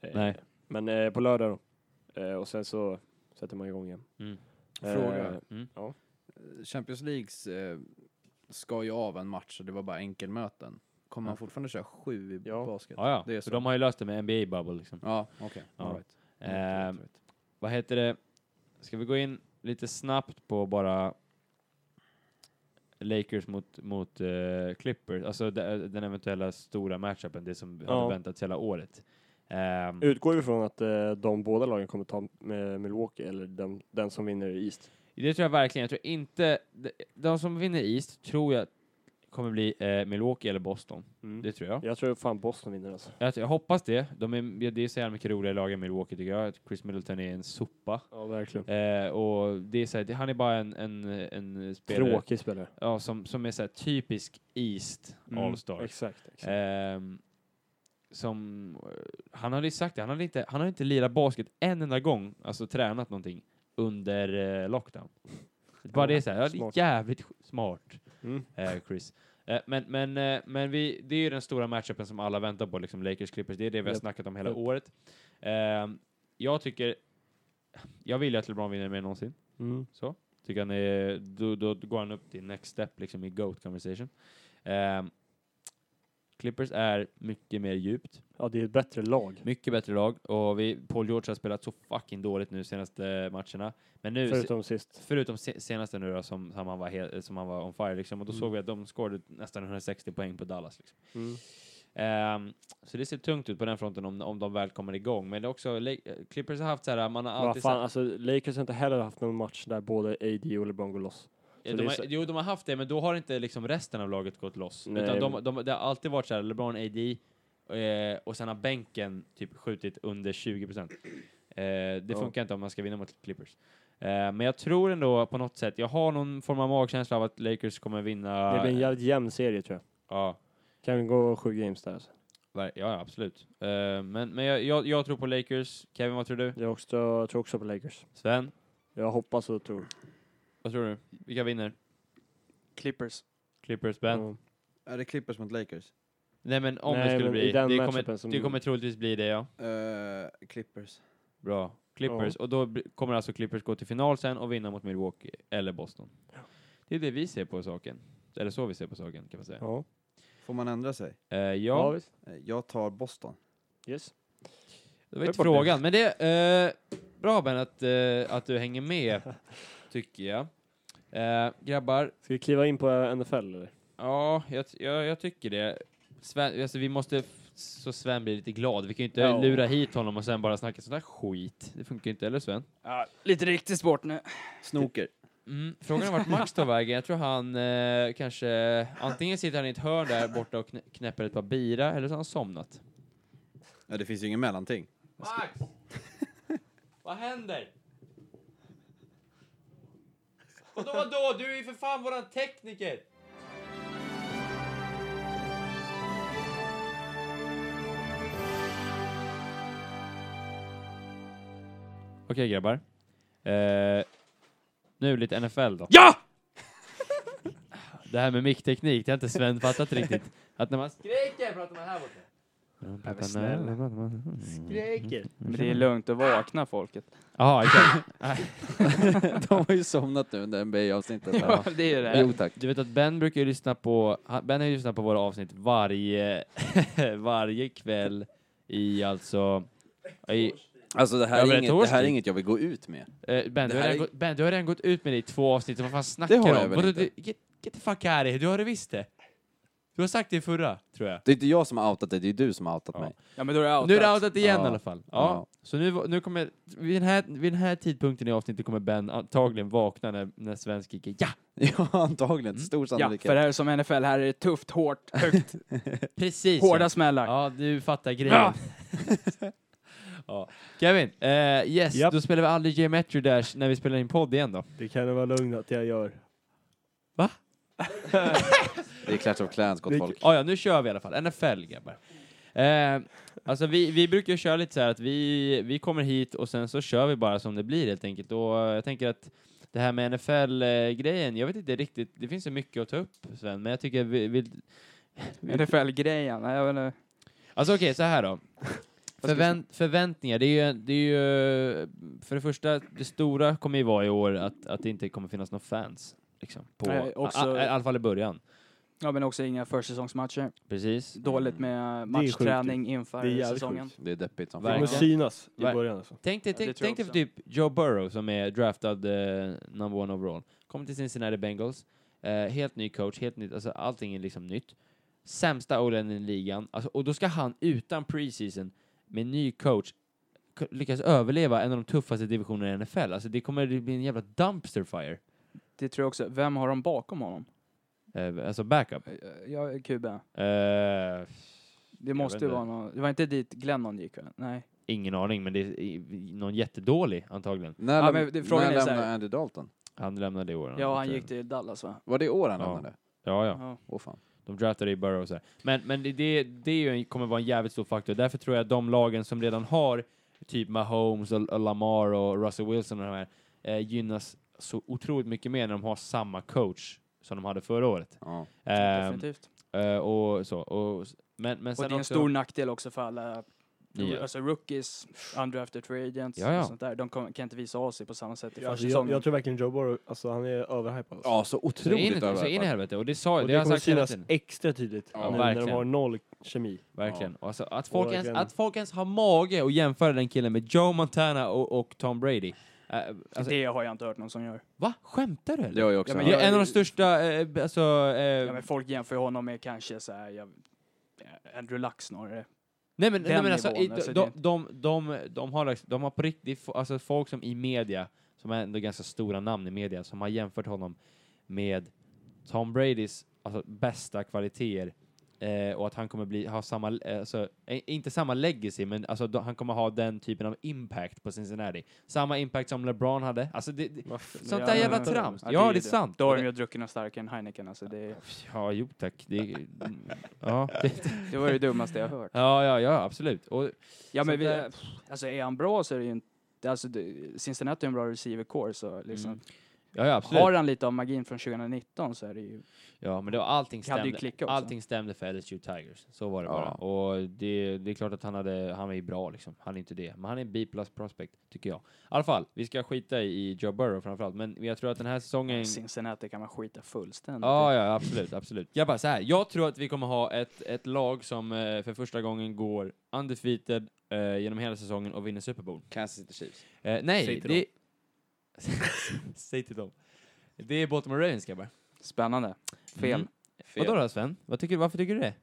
S4: Eh,
S1: Nej.
S4: Men eh, på lördag då. Eh, och sen så sätter man igång igen.
S1: Mm.
S4: Eh,
S3: Fråga.
S1: Mm.
S3: Champions Leagues eh, ska ju av en match så det var bara enkelmöten. Kommer
S1: Ja.
S3: man fortfarande köra sju i
S4: Ja.
S3: basket?
S1: Ja, ja.
S3: Det är
S1: För
S3: så.
S1: de har ju löst det med NBA Bubble liksom.
S3: Ja, Mm, okej.
S1: Ja.
S3: All right.
S1: Eh,
S3: All right.
S1: vad heter det? Ska vi gå in lite snabbt på bara Lakers mot, mot eh, Clippers, alltså de, den eventuella stora matchupen, det som
S4: Ja.
S1: hade väntats hela året. Ehm,
S4: Utgår vi från att eh, de båda lagen kommer ta med Milwaukee eller den, den som vinner i East?
S1: Det tror jag verkligen. Jag tror inte... de- De som vinner East tror jag kommer bli eh, Milwaukee eller Boston. Det tror jag.
S4: Jag tror fan Boston vinner alltså.
S1: Jag, jag hoppas det. De är, ja, det är så jävla mycket roligare lag än Milwaukee tycker jag. Att Chris Middleton är en sopa.
S4: Ja, verkligen.
S1: Eh, och det är så här, det, han är bara en, en, en spelare
S4: Tråkig spelare.
S1: Ja, som, som är så här typisk East
S4: Mm,
S1: All-Star.
S4: Exakt. exakt.
S1: Ehm, som, eh, han hade ju sagt det, han hade inte, han hade inte lirat basket en enda gång, alltså tränat någonting, under eh, lockdown. Bara det är så här, ja, det är
S4: Smart.
S1: jävligt sk- smart,
S4: Mm.
S1: eh, Chris. Eh, men men, eh, men vi, det är ju den stora matchupen som alla väntar på, liksom Lakers Clippers, det är det vi har
S4: Japp.
S1: snackat om hela
S4: Japp.
S1: året. Ehm, jag tycker, jag vill ju att LeBron vinner mer än någonsin.
S4: Mm.
S1: Så. Tycker han är, då, då går han upp till next step liksom i GOAT conversation. Ehm, Clippers är mycket mer djupt,
S4: Ja, det är ett bättre lag.
S1: mycket bättre lag och vi, Paul George har spelat så fucking dåligt nu senaste matcherna. Men nu, förutom,
S4: Förutom sist.
S1: förutom se, senaste nu då som, som, han var he, som han var on fire liksom och då
S4: Mm.
S1: såg vi att de scorade nästan 160 poäng på Dallas. Liksom.
S4: Mm.
S1: Ehm, så det ser tungt ut på den fronten om, om de väl kommer igång. Men det är också, Le- Clippers har haft så här, man har
S4: Vad
S1: alltid...
S4: fan, alltså Lakers har inte heller haft någon match där både AD och LeBron går loss.
S1: Ja,
S4: Så
S1: de
S4: det är
S1: har,
S4: så-
S1: Jo, de har haft det, men då har inte liksom resten av laget gått loss.
S4: Nej,
S1: Utan de,
S4: men-
S1: de, det har alltid varit så här, LeBron AD, eh, och sen har bänken typ skjutit under 20 procent. Eh, det
S4: Ja.
S1: funkar inte om man ska vinna mot Clippers. Eh, men jag tror ändå på något sätt, jag har någon form av magkänsla av att Lakers kommer vinna.
S4: Det blir en jävligt jämn serie tror jag.
S1: ja,
S4: Kan vi gå sju games där alltså.
S1: ver- ja, ja, absolut. Eh, men men jag, jag, jag tror på Lakers. Kevin, vad tror du?
S4: Jag, också, jag tror också på Lakers.
S1: Sven,
S4: Jag hoppas och tror.
S1: vad tror du? Vilka vinner?
S2: Clippers.
S1: Clippers, Ben?
S4: Ja.
S3: Är det Clippers mot Lakers?
S1: Nej, men om det
S4: Nej,
S1: skulle
S4: men
S1: bli,
S4: i den
S1: det
S4: matchupen
S1: kommer,
S4: som-
S1: det kommer troligtvis bli det, ja.
S3: Eh, Clippers.
S1: Bra. Clippers. Och då bli- kommer alltså Clippers gå till final sen och vinna mot Milwaukee eller Boston. Det är det vi ser på saken. Eller så vi ser på saken kan man säga.
S4: Ja.
S3: Får man ändra sig?
S1: Eh,
S4: ja,
S1: ja,
S4: visst.
S3: Eh, Jag tar Boston.
S4: Yes.
S1: det var inte
S4: det är bort
S1: frågan. Men det är bra Ben att, eh, att du hänger med, tycker jag. Eh, grabbar,
S4: Ska vi kliva in på eh, NFL eller?
S1: ja, jag, jag, jag tycker det. Sven, alltså, vi måste, f- så Sven blir lite glad. Vi kan ju inte
S4: Ja.
S1: lura hit honom och sen bara snacka sån där skit. Det funkar ju inte, eller Sven?
S2: Ja, lite riktig sport nu.
S3: Snoker.
S1: Mm. Frågan är vart Max tar vägen. Jag tror han eh, kanske... Antingen sitter han i ett hörn där borta och knä, knäpper ett par bira, eller så har han somnat.
S3: Ja, det finns ju ingen mellanting.
S1: Max! vad händer? Vadå, vadå? Du är ju för fan våran tekniker! Okej grabbar. Eh, nu lite NFL då.
S2: Ja!
S1: Det här med mickteknik, det har inte Sven fattat riktigt. Att när man skriker pratar man här borta.
S2: men snälla.
S6: Skriker.
S2: Men det är lugnt att vakna folket.
S1: Jaha, exakt.
S3: De har ju somnat nu under NBA-avsnittet.
S2: Ja, det är ju det.
S3: tack.
S1: Du vet att Ben brukar ju lyssna på, han- Ben har ju lyssnat på våra avsnitt varje, varje kväll i alltså, i,
S3: Alltså det
S1: Ja,
S3: här,
S1: men
S3: är
S1: det
S3: inget,
S1: tar
S3: det här är
S1: tid.
S3: inget jag vill gå ut med.
S1: eh, ben,
S3: Det
S1: du har
S3: här
S1: redan
S3: är-
S1: gått, ben du har redan gått ut med det i två avsnitt, vad fan snackar
S3: har
S1: du
S3: jag
S1: om?
S3: väl
S1: Vadå,
S3: inte.
S1: du- Get, get the fuck out of here, du har det visst det. Du har sagt det i förra, tror jag.
S3: Det är inte jag som har outat dig, det är du som har outat
S1: Ja.
S3: mig.
S2: Ja, men då är det outat.
S1: Nu är det outat igen
S3: Ja.
S1: i alla fall. Ja.
S3: Ja.
S1: Så nu, nu kommer, vid den, här, vid den här tidpunkten i avsnittet kommer Ben antagligen vakna när, när Sven skriker ja!
S3: Ja, antagligen.
S1: Mm.
S3: Stor
S2: Ja,
S3: sannolikhet.
S2: för här är som NFL, här är det tufft, hårt, högt,
S1: Precis!
S2: hårda smällar.
S1: Ja, du fattar grejen. ja. Kevin, eh, yes,
S4: Japp.
S1: då spelar vi aldrig Geometry Dash när vi spelar in podd igen då.
S6: Det kan du vara lugn att jag gör.
S3: Det är Clash of Clans, gott folk.
S1: Ah, ja, nu kör vi i alla fall. NFL, grabbar. Eh, alltså vi, vi brukar ju köra lite så här att vi, vi kommer hit och sen så kör vi bara som det blir helt enkelt. Och eh, jag tänker att det här med NFL-grejen, eh, jag vet inte riktigt, det finns så mycket att ta upp Sven, men jag tycker vi, vi
S2: NFL-grejen, nej, jag vet inte.
S1: Alltså okej, så här då.
S2: jag
S1: Förvänt, förväntningar, det är ju, det är ju eh, för det första, det stora kommer ju vara i år att, att det inte kommer finnas några fans. Liksom, på,
S2: Nej, också-
S1: a, a, I alla fall i början.
S2: Ja, men också inga försäsongsmatcher.
S1: Precis.
S2: Dåligt med matchträning inför
S6: Det är jävligt
S2: säsongen.
S3: Det är deppigt som
S1: Verkligen.
S6: kommer
S3: fan.
S6: synas i
S1: Ver-
S6: början alltså.
S1: Tänk dig,
S2: Ja, det
S1: tänk,
S2: tror jag
S1: tänk dig för
S2: också.
S1: typ Joe Burrow som är draftad eh, number one overall. Kommer till Cincinnati Bengals. Eh, helt ny coach, helt nytt, alltså allting är liksom nytt. Sämsta o i ligan. Alltså, och då ska han utan preseason med ny coach k- lyckas överleva en av de tuffaste divisionerna i NFL. Alltså det kommer bli en jävla dumpster fire.
S2: Det tror jag också. Vem har de bakom honom?
S1: Eh, alltså backup.
S2: Eh, Ja, QB.
S1: Eh,
S2: Det måste
S1: vet
S2: ju
S1: inte.
S2: vara någon. Det var inte dit Glennon gick, va? Nej.
S1: ingen aning, men det är i- någon jättedålig antagligen.
S3: När,
S2: Ja,
S3: läm-
S2: men det- frågan
S3: när
S2: är så här-
S3: lämnade Andy Dalton?
S1: Han lämnade i år.
S2: Ja, han
S1: Så-
S2: gick till Dallas, va?
S3: Var det i år han
S1: Ja.
S3: lämnade?
S1: Ja, ja.
S2: Ja.
S3: Åh fan.
S1: De draftade i Burrow och så här. Men, men det, det, det är ju en, kommer vara en jävligt stor faktor. Därför tror jag att de lagen som redan har typ Mahomes och, och Lamar och Russell Wilson och de här eh, gynnas så otroligt mycket mer när de har samma coach som de hade förra året.
S3: Ja.
S1: Ehm,
S2: Definitivt.
S1: eh, och så. Och, s- men, men sen
S2: Och det är en
S1: också,
S2: stor nackdel också för alla
S1: Ja.
S2: alltså rookies, undrafted free agents
S1: Ja, ja.
S2: och sånt där. De kom, kan inte visa av sig på samma sätt
S6: Ja,
S2: i första
S6: alltså, jag,
S2: säsongen.
S6: jag tror verkligen Joe Burrow, alltså han är överhypad. Alltså.
S3: ja, så
S1: så in,
S3: otroligt
S1: i- så in i
S3: överhypad.
S1: helvete. Och det sa
S6: Och
S1: jag,
S6: det,
S1: det har jag
S6: kommer
S1: sagt hela
S6: synas
S1: tiden.
S6: extra tydligt
S3: Ja,
S6: nu när de
S1: verkligen.
S6: har noll kemi.
S1: Verkligen. Alltså, att, folk
S6: Och
S1: ens,
S6: verkligen-
S1: att folk ens har mage att jämföra den killen med Joe Montana och, och Tom Brady. Eh, alltså,
S2: det har jag inte hört någon som gör.
S1: Va? Skämtar du eller?
S3: Det har jag också.
S2: Ja, men
S1: Det
S2: jag-
S1: är en av de största, eh, b- alltså... Eh,
S2: Ja, men folk jämför ju honom med kanske så här, jag, eh, Andrew Luck snarare.
S1: nej men, nej,
S2: den
S1: men alltså,
S2: nivån,
S1: i-
S2: alltså,
S1: de,
S2: det-
S1: de, de, de, har, liksom- de har på riktigt, f- alltså folk som i media, som är ändå ganska stora namn i media, som har jämfört honom med Tom Bradys alltså, bästa kvaliteter eh, och att han kommer bli, ha samma, eh, alltså, eh, inte samma legacy, men alltså, då, han kommer ha den typen av impact på Cincinnati. Samma impact som LeBron hade. Alltså, det, det, sånt där
S2: Ja,
S1: jävla
S2: men-
S1: trams. Ja,
S2: ju
S1: det är sant.
S2: Då har de ju druckit något starkare än Heineken. Alltså det,
S1: Ja, jo tack. Det, ja, det,
S2: det var det dummaste jag har hört.
S1: ja, ja, ja, absolut. Och,
S2: Ja,
S1: Så
S2: men vi,
S1: det-
S2: alltså är han bra så är det ju inte... Alltså, det, Cincinnati är en bra receiver core, så liksom...
S1: Mm. ja, ja, absolut.
S2: Har han lite av magin från 2019 så är det ju...
S1: Ja, men det var allting
S2: Kan det ju
S1: stämde,
S2: klicka också.
S1: allting stämde för LSU Tigers. Så var det
S3: Ja.
S1: bara. Och det, det är klart att han, hade, han var ju bra liksom. Han är inte det. Men han är en B-plus prospect, tycker jag. I alla fall, vi ska skita i Joe Burrow framförallt. Men jag tror att den här säsongen...
S2: Cincinnati kan man skita fullständigt
S1: Ja,
S2: i.
S1: ja, absolut, absolut. Jag bara så här. Jag tror att vi kommer ha ett, ett lag som eh, för första gången går undefeated eh, genom hela säsongen och vinner Super Bowl.
S3: Kansas City Chiefs.
S1: Eh, nej,
S3: Säg till
S1: det... Säg till dem. Det är Baltimore Ravens, grabbar.
S2: Spännande. Fel.
S1: Mm. Vadå då, Sven? Vad tycker, varför tycker du det?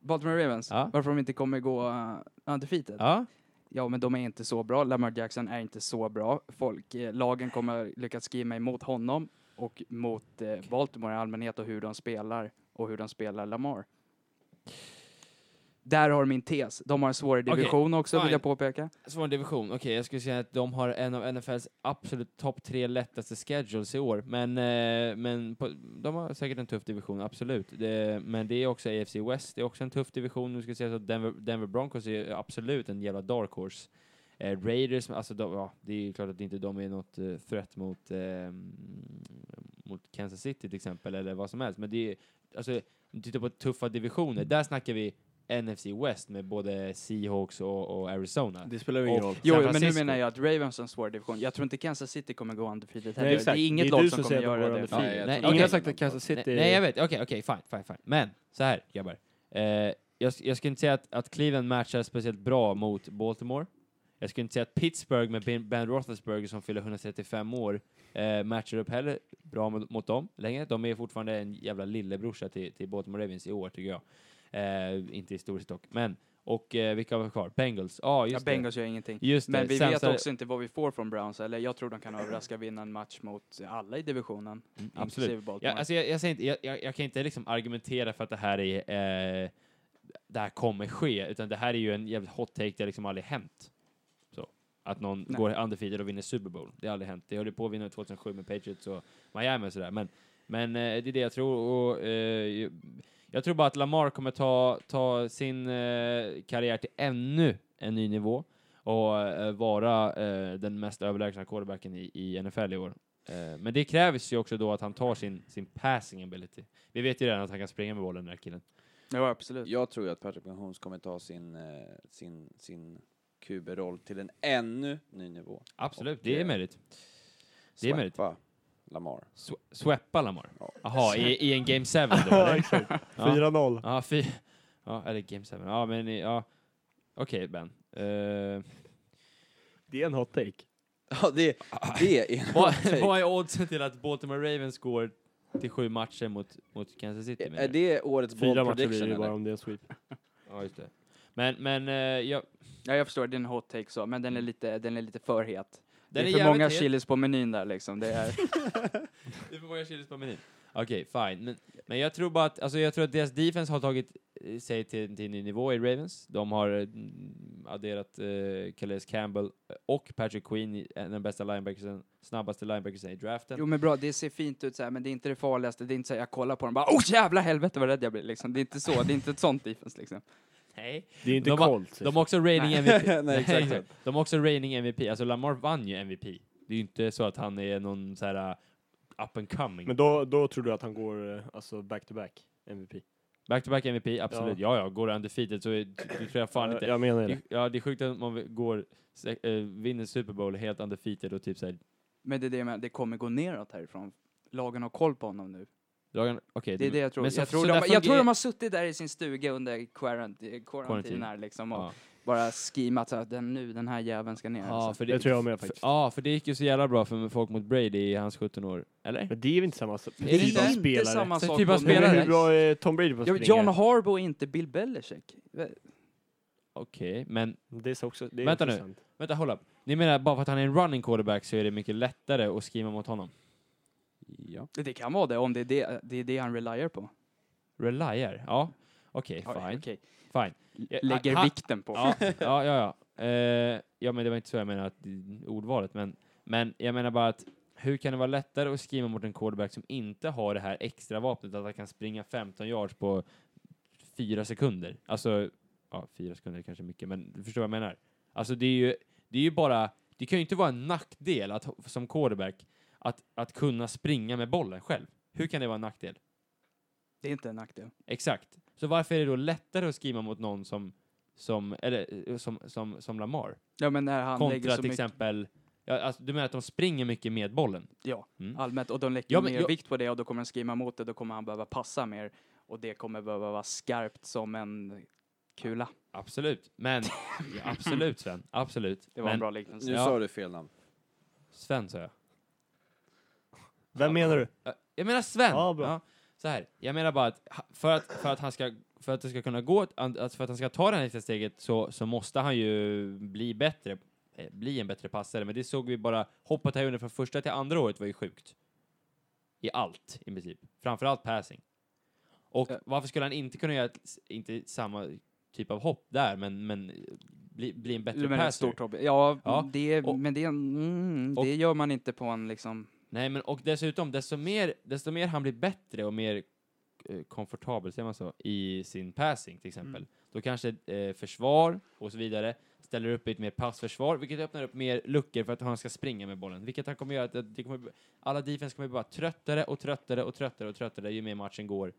S2: Baltimore Ravens,
S1: Ja.
S2: varför de inte kommer gå uh, undefeated? Ja.
S1: Ja.
S2: men de är inte så bra. Lamar Jackson är inte så bra. Folk, eh, lagen kommer lyckas skriva emot honom och mot eh, Baltimore i allmänhet och hur de spelar och hur de spelar Lamar. Där har min tes. De har en svårare
S1: Okej,
S2: division också, vill
S1: fine.
S2: jag påpeka.
S1: Svår division. Okej, jag skulle säga att de har en av NFLs absolut topp tre lättaste schedules i år. Men, eh, men på, de har säkert en tuff division, absolut. Det, men det är också AFC West, det är också en tuff division. Nu ska jag säga så att Denver, Denver Broncos är absolut en jävla dark horse. Eh, Raiders, alltså de, ja, det är ju klart att inte de är något eh, threat mot, eh, mm, mot Kansas City till exempel, eller vad som helst. Men det är, alltså, om du tittar på tuffa divisioner, där snackar vi NFC West med både Seahawks och, och Arizona.
S6: Det spelar ju
S1: ingen
S6: ingen
S1: Och- roll.
S6: roll.
S2: Jo,
S1: San
S2: men nu
S1: Francisco.
S2: menar jag att Ravens har en svår division. Jag tror inte Kansas City kommer gå undefeated
S6: Nej,
S2: heller.
S6: exakt.
S2: Det är inget
S6: Det är
S2: lag
S6: du
S2: som
S6: som
S2: kommer
S6: säger att de
S2: göra
S6: går
S2: det.
S6: undefeated.
S1: Nej,
S3: jag
S1: nej,
S3: tror
S1: ingen
S3: inte
S1: har
S6: sagt
S3: de
S6: att Kansas
S1: Nej,
S6: City...
S1: nej, jag vet. Okej, okej, fine, fine, fine. Men så här, grabbar. Eh, jag, jag skulle inte säga att, att Cleveland matchar speciellt bra mot Baltimore. Jag skulle inte säga att Pittsburgh med Ben- Ben Roethlisberger som fyller 135 år eh, matchar upp heller bra mot, mot dem längre. De är fortfarande en jävla lillebrorsa till, till Baltimore Ravens i år, tycker jag. Eh, inte historiskt dock, men. Och eh, vilka var kvar? Bengals. Ah,
S2: Ja,
S1: just det.
S2: Bengals gör ingenting.
S1: Just det.
S2: Men vi
S1: Sen
S2: vet
S1: så är det-
S2: också inte vad vi får från Browns, eller jag tror de kan överraska och vinna en match mot alla i divisionen,
S1: Mm, absolut.
S2: inklusive
S1: Ja,
S2: Baltimore.
S1: alltså jag, jag, säger inte, jag, jag, jag kan inte liksom argumentera för att det här är eh, det här kommer ske, utan det här är ju en jävligt hot take, det har liksom aldrig hänt. Så. Att någon
S2: Nej.
S1: går undefeated och vinner Super Bowl, det har aldrig hänt. Det höll ju på att vinna 2007 med Patriots och Miami och sådär, men, men eh, det är det jag tror. Och, eh, ju- jag tror bara att Lamar kommer ta, ta sin eh, karriär till ännu en ny nivå och eh, vara eh, den mest överlägsna quarterbacken i, i NFL i år. Eh, men det krävs ju också då att han tar sin, sin passing ability. Vi vet ju redan att han kan springa med bollen den här killen.
S2: Ja, absolut.
S3: Jag tror ju att Patrick Mahomes kommer ta sin, eh, sin, sin QB-roll till en ännu ny nivå.
S1: Absolut,
S3: det
S1: det
S3: är
S1: är möjligt. Det är möjligt.
S3: Släppa Lamar.
S1: Sw- Sweppa Lamar?
S3: Ja.
S1: Jaha, i, i en Game 7 då? eller? Ja.
S6: 4-0.
S1: Ja, fy... Ja, eller Game 7. Ja, men i- ja. Okej, Ben. Eh,
S6: Det är en hot take.
S3: Ja, det, det är
S1: vad, vad är oddsen till att Baltimore Ravens går till sju matcher mot, mot Kansas City? menar
S3: Är
S1: du?
S3: det årets
S4: Fyra
S3: bold
S4: matcher blir
S3: prediction
S4: det ju bara
S3: eller?
S4: om det är en sweep.
S1: Ja, just det. Men, men eh, ja,
S2: Ja, jag förstår, det är en hot take så, men den är lite, den är lite för het.
S1: Mm. den
S2: det
S1: är
S2: är för
S1: jävligt
S2: många
S1: het.
S2: chilis på menyn där liksom. Det är,
S1: Det är för många chilis på menyn. Okej, fine. Men, men jag tror bara att, alltså jag tror att deras defense har tagit eh, sig till, till en ny nivå i Ravens. De har eh, mm, adderat eh, Calais Campbell och Patrick Queen, i- en av de bästa linebackersen, snabbaste linebackersen i draften.
S2: jo men bra, det ser fint ut så här, men det är inte det farligaste. Det är inte så här, jag kollar på dem bara oh jävla helvete vad rädd jag blir liksom. Det är inte så, det är inte ett sånt defense liksom.
S1: Nej.
S4: Det är inte
S1: De har-
S4: Colts.
S1: De
S6: alltså.
S1: har också reigning MVP.
S3: Nej, exakt.
S1: De har också reigning MVP. Alltså Lamar vann ju MVP. Det är ju inte så att han är någon så här uh, up and coming.
S6: Men då, då tror du att han går eh, alltså back-to-back MVP?
S1: Back-to-back MVP, absolut. Ja, ja, går det undefeated så är, du tror jag fan
S6: Eh,
S4: Jag,
S1: inte...
S4: jag menar det.
S1: Det- Ja, det är sjukt att man går, se- eh, vinner Super Bowl helt undefeated och typ såhär,
S2: Men det är det med, det kommer gå neråt härifrån. Lagen har koll på honom nu.
S1: lagen, okej.
S2: Det är det jag tror.
S1: men så-
S2: jag, tror
S1: så
S2: de,
S1: där
S2: jag
S1: fungerar-
S2: tror de har suttit där i sin stuga under quarant-
S1: Quarantine.
S2: quarantine här liksom och
S1: Ja,
S2: bara schemat att den, nu, den här jäveln ska ner.
S1: ja
S2: alltså.
S1: för det,
S6: Det tror jag med
S1: för,
S6: faktiskt.
S1: ja, för det gick ju så jävla bra för folk mot Brady i hans 17 år. Eller?
S6: Men det är väl inte samma sak?
S1: det
S6: Typ av
S1: inte
S6: spelare.
S2: samma
S1: Så
S2: sak.
S1: typ av
S2: på-
S1: spelare.
S6: Hur bra är Tom Brady på att
S2: Ja,
S6: springa?
S2: John Harbaugh är inte Bill Belichick.
S1: Okej, men
S6: Det är också, det är
S1: Vänta nu.
S6: intressant.
S1: vänta, håll upp. Ni menar bara för att han är en running quarterback så är det mycket lättare att skriva mot honom?
S3: Ja.
S2: Det kan vara det om det är det, det, är det han reliar på.
S1: Relier? Ja. Okej,
S2: Ja,
S1: fine.
S2: okej.
S1: fine. Ja,
S2: Lägger
S1: ha-
S2: vikten på.
S1: Ja, ja, ja. Ja. Eh, ja, men det var inte så jag menade att, ordvalet, men, men jag menar bara att hur kan det vara lättare att skriva mot en quarterback som inte har det här extra vapnet att han kan springa 15 yards på fyra sekunder? Alltså, ja, fyra sekunder är kanske mycket, men du förstår vad jag menar. Alltså, det är ju, det är ju bara, det kan ju inte vara en nackdel att, som quarterback att, att kunna springa med bollen själv. Hur kan det vara en nackdel?
S2: Det är inte en nackdel.
S1: Exakt. Så varför är det då lättare att skriva mot någon som, som, eller, eh, som, som, som Lamar?
S2: Ja, men när han lägger
S1: Kontra
S2: så
S1: till
S2: mycket
S1: exempel, ja, alltså, du menar att de springer mycket med bollen?
S2: ja,
S1: Mm.
S2: allmänt och de lägger
S1: Ja, men
S2: mer
S1: jag-
S2: vikt på det och då kommer han skriva emot det, då kommer han behöva passa mer och det kommer behöva vara skarpt som en kula.
S1: Absolut. Men, ja, absolut Sven, absolut.
S2: Det var en
S1: Men,
S2: bra
S3: Nu
S2: liknelse.
S1: Ja.
S3: sa du fel namn.
S1: Sven sa jag.
S6: Vem menar du?
S1: Ä, Eh, Jag menar Sven!
S6: Ja, bra.
S1: så här. jag menar bara att ha- för att, för att han ska för att det ska kunna gå, ett an- alltså för att han ska ta det här nästa steget så, så måste han ju bli bättre, eh, bli en bättre passare, men det såg vi bara, hoppet här under från första till andra året var ju sjukt. I allt, i princip. Framförallt passing. Och
S6: Eh.
S2: Ja.
S1: varför skulle han inte kunna göra, ett, inte samma typ av hopp där, men, men eh, bli, bli en bättre
S2: Du menar
S1: passer?
S2: ett stort hobby? Ja,
S1: Ja,
S2: Det,
S1: och-
S2: men det, mm,
S1: och-
S2: det gör man inte på en liksom...
S1: Nej, men och dessutom, desto mer, desto mer han blir bättre och mer eh, komfortabel, säger man så, i sin passing till exempel, då kanske eh, försvar och så vidare ställer upp i ett mer passförsvar, vilket öppnar upp mer luckor för att han ska springa med bollen, vilket han kommer göra att- att det kommer, bli- alla defense kommer bli bara tröttare och tröttare och tröttare och tröttare ju mer matchen går.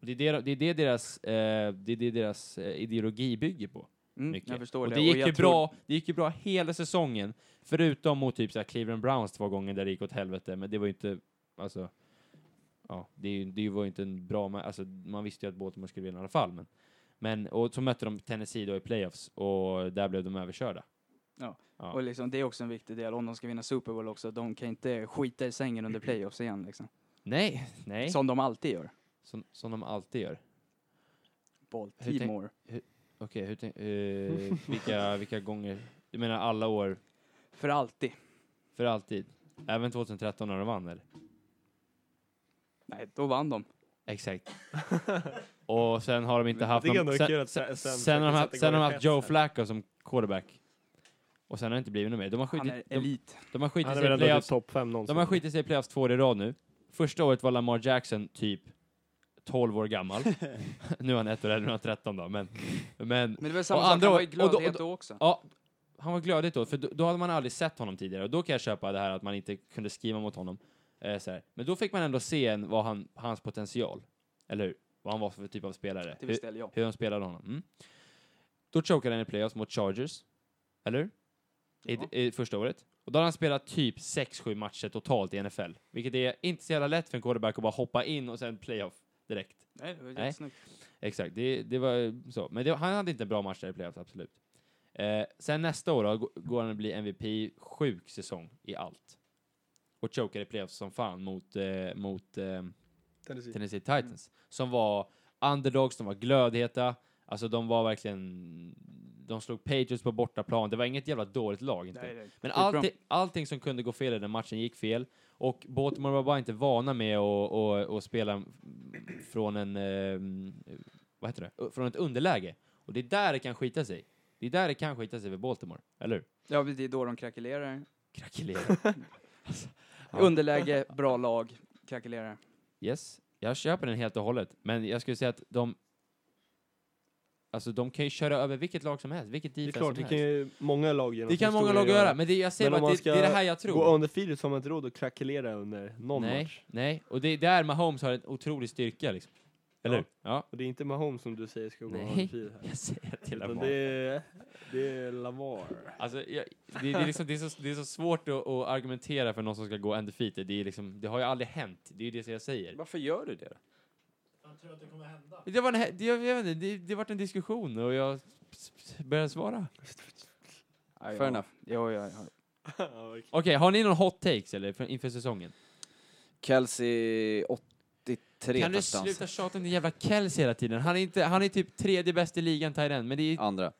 S1: Och Det är det, det, är det deras, eh, det är det deras eh, ideologi bygger på.
S2: Mm,
S1: Mycket.
S2: jag förstår
S1: och
S2: det.
S1: det. Gick
S2: jag
S1: ju
S2: tror-
S1: bra, det gick ju bra hela säsongen, förutom mot typ så här Cleveland Browns två gånger där det gick åt helvete, men det var ju inte, alltså, ja, det, är ju- det var ju inte en bra, ma- alltså man visste ju att Baltimore skulle vinna i alla fall, men, men och så mötte de Tennessee då i playoffs och där blev de överkörda. Ja.
S2: Och liksom, det är också en viktig del, om de ska vinna Super Bowl också, de kan inte skita i sängen under playoffs igen liksom.
S1: Nej, nej,
S2: Som de alltid gör.
S1: som, som de alltid gör. Hur tänk-
S2: Baltimore.
S1: Okej, hur tänk- eh, vilka, vilka gånger, du menar alla år,
S2: För alltid.
S1: för alltid? Även 2013 när de vann eller?
S2: Nej, då vann de.
S1: Exakt. och sen har de inte
S6: Men
S1: haft
S6: det är ändå
S1: någon,
S6: kul
S1: sen,
S6: att sen-
S1: sen,
S6: sen
S1: sen, har
S6: faktiskt
S1: de haft,
S6: att det går
S1: sen har de
S6: i
S1: haft
S6: press
S1: Joe
S6: här.
S1: Flacco som quarterback. Och sen har det inte blivit något mer. De har
S2: Han är
S1: skitit, de,
S2: elit.
S1: de har skitit
S6: Han är
S1: sig
S6: väl
S1: i
S6: ändå
S1: playoffs,
S6: typ topp 5 någonsin.
S1: de har skitit sig i playoffs två år i rad nu. Första året var Lamar Jackson typ 12 år gammal. nu är han ett år äldre, nu är han 13 då. Men, men
S2: Men det var samma
S1: Och
S2: sak,
S1: andra
S2: han var
S1: år-
S2: ju
S1: och då- och
S2: glödhet
S1: då-
S2: då också.
S1: Ja, han var glödigt då, för då, då hade man aldrig sett honom tidigare. Och då kan jag köpa det här att man inte kunde skriva mot honom. Eh, så här. Men då fick man ändå se en, vad han, hans potential, eller hur? Vad han var för typ av spelare.
S2: Det
S1: Hur,
S2: visste jag.
S1: hur de spelade honom. Mm. Då chokade han i playoffs mot Chargers, eller hur? I,
S2: Ja.
S1: I första året. Och då har han spelat typ 6-7 matcher totalt i NFL, vilket är inte så jävla lätt för en quarterback att bara hoppa in och sen playoff direkt.
S2: Nej, det var
S1: Nej.
S2: jättesnyggt.
S1: Exakt, det, det var eh, så. Men det, han hade inte en bra match där i playoffs, absolut. Eh, sen nästa år då, g- går han att bli MVP, sjuk säsong i allt. Och chokar i playoffs som fan mot, eh, mot eh,
S7: Tennessee.
S1: Tennessee Titans. Som var underdogs, de var glödheta. Alltså de var verkligen... De slog Patriots på bortaplan. Det var inget jävla dåligt lag inte.
S2: Nej, nej.
S1: Men
S2: Skitbra.
S1: allting, allting som kunde gå fel i den matchen gick fel. Och Baltimore var bara inte vana med att och, och spela från en... Eh, vad heter det? Från ett underläge. Och det är där det kan skita sig. Det är där det kan skita sig för Baltimore. Eller hur?
S2: Ja, men det är då de krackelerar.
S1: Krackelera. Ja.
S2: Underläge, bra lag, krackelerar.
S1: Yes, jag köper den helt och hållet. Men jag skulle säga att de... Alltså de kan ju köra över vilket lag som helst, vilket
S6: Det är
S1: defense
S6: klart, det
S1: som
S6: kan
S1: helst.
S6: ju många lag genom
S1: Det kan många lag
S6: historien
S1: göra, men det, jag säger
S6: Men om
S1: bara
S6: man
S1: att det, det är
S6: ska
S1: det här jag tror.
S6: Gå undefeated så har man inte råd att krackelera under någon
S1: nej,
S6: match.
S1: nej, och det är där Mahomes har en otrolig styrka liksom. Eller
S6: Ja.
S1: hur? Ja.
S6: Och det är inte Mahomes som du säger ska gå
S1: Nej.
S6: undefeated här.
S1: Jag säger till
S6: Utan
S1: Lamar.
S6: det är, det är Lamar.
S1: Alltså, jag, det, det, är liksom, det, är så, det är så svårt att, att argumentera för någon som ska gå undefeated. Det, är liksom, det har ju aldrig hänt. Det är ju det som jag säger.
S7: Varför gör du det då?
S1: Det var en, hä- det, jag vet inte, det, det vart en diskussion och jag s- s- började svara.
S2: ja.
S3: Fair enough.
S2: Jo, ja, ja.
S1: Okej, har ni någon hot takes eller för, inför säsongen?
S3: Kelsey 83
S1: kan du
S3: touchdowns.
S1: sluta tjata om den jävla Kells hela tiden? Han är, inte, han är typ tredje bäst i ligan, Tyrén, men det är... Ja.
S3: Andra.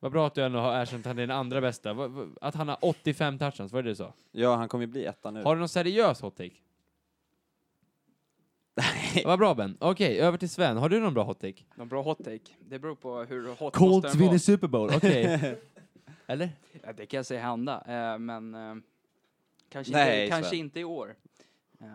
S1: Vad bra att du ändå har erkänt att han är den andra bästa. Va- va- Att han har 85 touchdowns, vad är det du sa?
S3: Ja, han kommer ju bli etta nu.
S1: Har du någon seriös hot take? Vad bra Ben. Okej, över till Sven. Har du någon bra hot take?
S2: De bra hot take. Det beror på hur hot
S1: Colts
S2: måste den
S1: vinner
S2: vara.
S1: Super Bowl. Okej. Eller?
S2: Ja, det kan jag säga hända, eh, men eh, kanske,
S3: Nej,
S2: inte, kanske
S3: Sven.
S2: inte i år. Eh,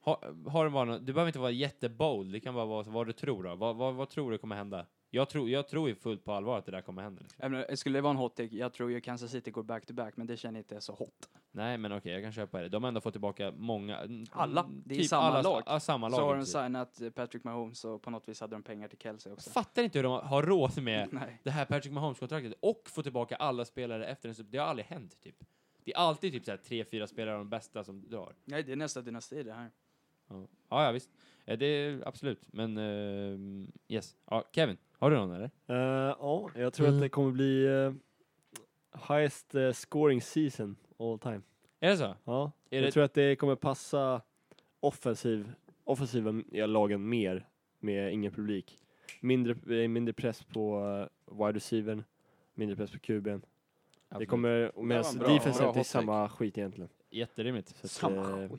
S1: Har, har du bara någon, du behöver inte vara jättebold, det kan bara vara så- vad du tror då. Vad, vad, vad tror du kommer hända? Jag tror, jag tror ju fullt på allvar att det där kommer hända. Liksom.
S2: jag menar, skulle det vara en hot take, jag tror ju Kansas City går back to back, men det känner jag inte är så hot.
S1: Nej, men okej, jag kan köpa det. De har ändå fått tillbaka många... mm,
S2: Alla.
S1: mm,
S2: Det är samma lag.
S1: Ja, samma lag. typ.
S2: Så har de
S1: precis.
S2: signat eh, Patrick Mahomes och på något vis hade de pengar till Kelsey också.
S1: Jag fattar inte hur de har råd med
S2: Nej.
S1: det här Patrick Mahomes-kontraktet och få tillbaka alla spelare efter en Super Det har aldrig hänt, typ. Det är alltid typ så här tre, fyra spelare av de bästa som drar.
S2: Nej, det är nästa dynasti det här.
S1: Ja, ja, ja visst. Eh, Det är absolut, men ehm, yes. Ja, Kevin, har du någon eller?
S6: Eh, Ja, jag tror
S1: Mm.
S6: att det kommer bli eh, highest eh, scoring season all time.
S1: Är det så?
S6: Ja,
S1: Är
S6: jag
S1: det-
S6: tror att det kommer passa offensiv, offensiva m- lagen mer med ingen publik. Mindre, eh, mindre press på eh, wide receivern, mindre press på kuben. Det
S1: Absolut.
S6: kommer, medan
S3: var en bra-
S6: defensen
S3: bra
S6: det är
S3: hot
S6: samma skit egentligen.
S1: Jätterimligt.
S6: Så att, eh,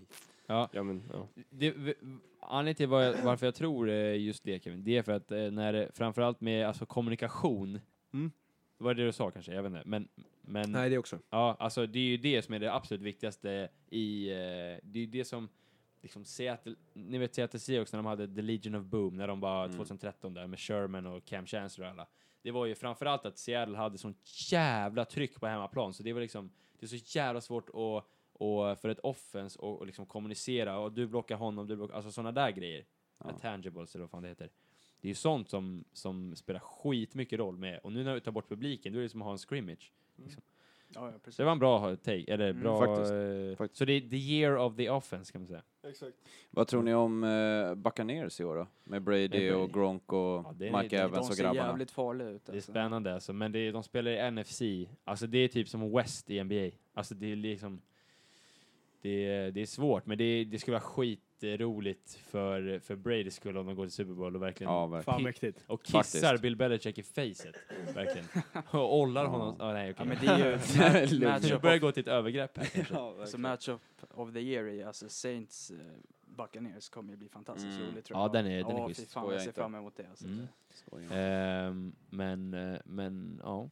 S1: Ja.
S6: Ja, men, ja.
S1: det, v- anledningen till var, varför jag tror eh, just det Kevin, det är för att eh, när det, framförallt med alltså, kommunikation,
S6: Mm.
S1: det var det du sa kanske, jag vet inte, men, men
S7: Nej, det också.
S1: ja, alltså, det är ju det som är det absolut viktigaste i, eh, det är ju det som Liksom Seattle, ni vet Seattle Seahawks när de hade The Legion of Boom, när de var
S3: Mm.
S1: 2013 där med Sherman och Cam Chancellor och alla. Det var ju framförallt att Seattle hade sån jävla tryck på hemmaplan, så det var liksom, det är så jävla svårt att och för ett offens och, och liksom kommunicera och du blockar honom, du blockar, alltså sådana där grejer.
S3: Ja.
S1: Tangibles eller vad fan det heter. Det är ju sånt som, som spelar skitmycket roll med, och nu när du tar bort publiken, då är det som att ha en scrimmage.
S2: Ja, ja,
S1: Så
S2: precis.
S1: det var en bra take, eller
S2: Mm,
S1: bra...
S3: faktiskt.
S1: eh,
S3: Faktiskt.
S1: Så det är the year of the offense kan man säga.
S3: Vad tror ni om eh, Buccaneers i år då? Med Brady,
S1: Brady.
S3: och Gronk och
S1: Ja, det är-
S3: Mike
S1: det-
S2: De
S3: Evans och
S2: ser
S3: grabbarna.
S2: jävligt farliga ut.
S1: Det är
S2: Alltså.
S1: spännande alltså, men det är, de spelar i NFC. Alltså det är typ som West i NBA. Alltså det är liksom... Det är, det är svårt, men det, är, det skulle vara skitroligt för, för Brady skull om de går till Super Bowl och verkligen
S3: Ja, verkligen.
S6: Fan mäktigt.
S1: Och kissar
S3: Faktiskt.
S1: Bill Belichick i facet. Verkligen. Och ollar honom. Ah, nej,
S2: Ja,
S1: okej.
S2: men det är ju ma-
S1: Du
S2: matchup
S1: börjar
S2: of,
S1: gå till ett övergrepp här kanske.
S2: alltså matchup of the year i alltså Saints eh, Buccaneers kommer ju bli fantastiskt
S3: Mm.
S2: rolig tror
S1: Ja,
S2: jag.
S1: den är- den är
S2: ja,
S1: schysst.
S2: fy fan,
S3: Skojar
S2: jag ser
S3: inte.
S2: fram emot det. Alltså.
S1: Mm.
S3: Skojar.
S1: Ehm, men, eh, men, ja.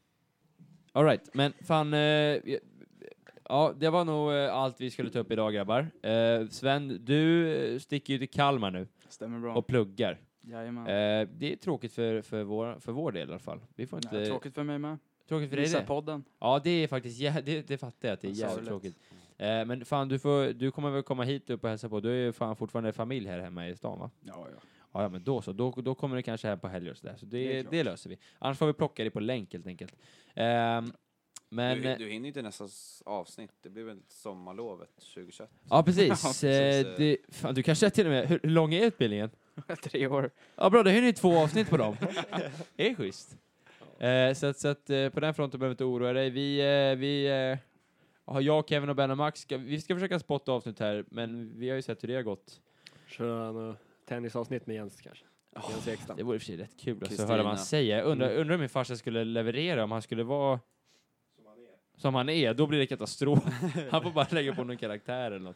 S1: Alright, men fan. eh, ja, ja, det var nog eh, allt vi skulle ta upp idag grabbar. Eh, Sven, du eh, sticker ju till Kalmar nu
S2: Stämmer bra.
S1: och pluggar.
S2: Jajamän.
S1: Eh, det är tråkigt för, för, vår, för vår del i alla fall. Vi får inte...
S2: Ja, tråkigt för mig med.
S1: tråkigt för dig
S2: Missa
S1: det.
S2: podden.
S1: Ja, det är faktiskt jä- det, det fattar jag att det är
S2: Sorgligt.
S1: jävligt tråkigt. Eh, men fan, du, får, du kommer väl komma hit upp och hälsa på? Du är ju fan fortfarande familj här hemma i stan, va?
S2: Ja, ja.
S1: Ja, ja men då så. Då, då kommer du kanske här på helger och sådär. Så det,
S2: Det är
S1: det,
S2: klart.
S1: löser vi. Annars får vi plocka dig på länk helt enkelt. Ehm, Men,
S3: du,
S1: eh,
S3: du hinner ju till nästa s- avsnitt, det blir väl sommarlovet 2021?
S1: ja precis.
S3: Ja,
S1: Eh,
S3: precis.
S1: det, fan, du kanske till och med, hur, hur lång är utbildningen?
S2: Tre år.
S1: Ja bra, då hinner ni två avsnitt på dem. det är schysst. Eh, så att, så att eh, på den fronten behöver du inte oroa dig. Vi, eh, vi eh, har jag, Kevin och Ben och Max, ska, vi ska försöka spotta avsnitt här, men vi har ju sett hur det har gått.
S6: Köra något tennisavsnitt med Jens kanske. Jens Ekstrand.
S1: Det vore i och för sig rätt kul alltså, att
S3: Kristina. Mm.
S1: höra vad han säger. Jag Undrar, undrar om min farsa skulle leverera, om han skulle vara som han är, då blir det katastrof. Han får bara lägga på någon karaktär eller något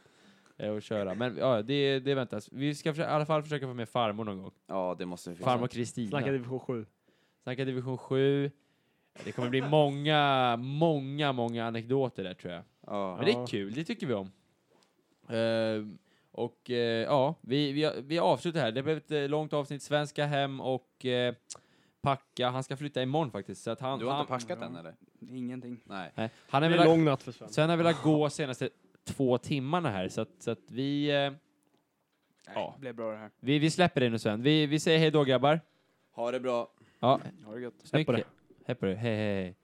S1: eh, och köra. Men ja, det, det väntas. Vi ska försöka, i alla fall försöka få med farmor någon gång.
S3: Ja, det måste vi fixa.
S1: Farmor Kristina.
S6: Snacka division 7.
S1: Snacka division 7. Det kommer bli många, många, många anekdoter där tror jag. Men
S3: Ja.
S1: det är kul, det tycker vi om. Ehm, och eh, ja, vi, vi, vi avslutar här. Det blev ett eh, långt avsnitt. Sven ska hem och eh, packa. Han ska flytta imorgon faktiskt. Så att han,
S3: Du har
S1: han,
S3: inte packat
S1: Mm.
S3: än eller?
S2: Ingenting.
S3: Nej.
S1: Nej, han
S6: Det är
S1: har
S6: en
S1: velat,
S6: lång natt för Sven.
S1: Sven har velat gå senaste två timmarna här. Så att, så att vi, eh,
S2: Nej,
S1: Ja.
S2: Det blev bra det här.
S1: vi, vi släpper dig nu Sven. Vi, vi säger hej då grabbar.
S3: Ha det bra.
S1: Ja,
S2: Ha det gött.
S1: snyggt.
S6: på dig.
S1: Hej på dig. Hej, hej, hej.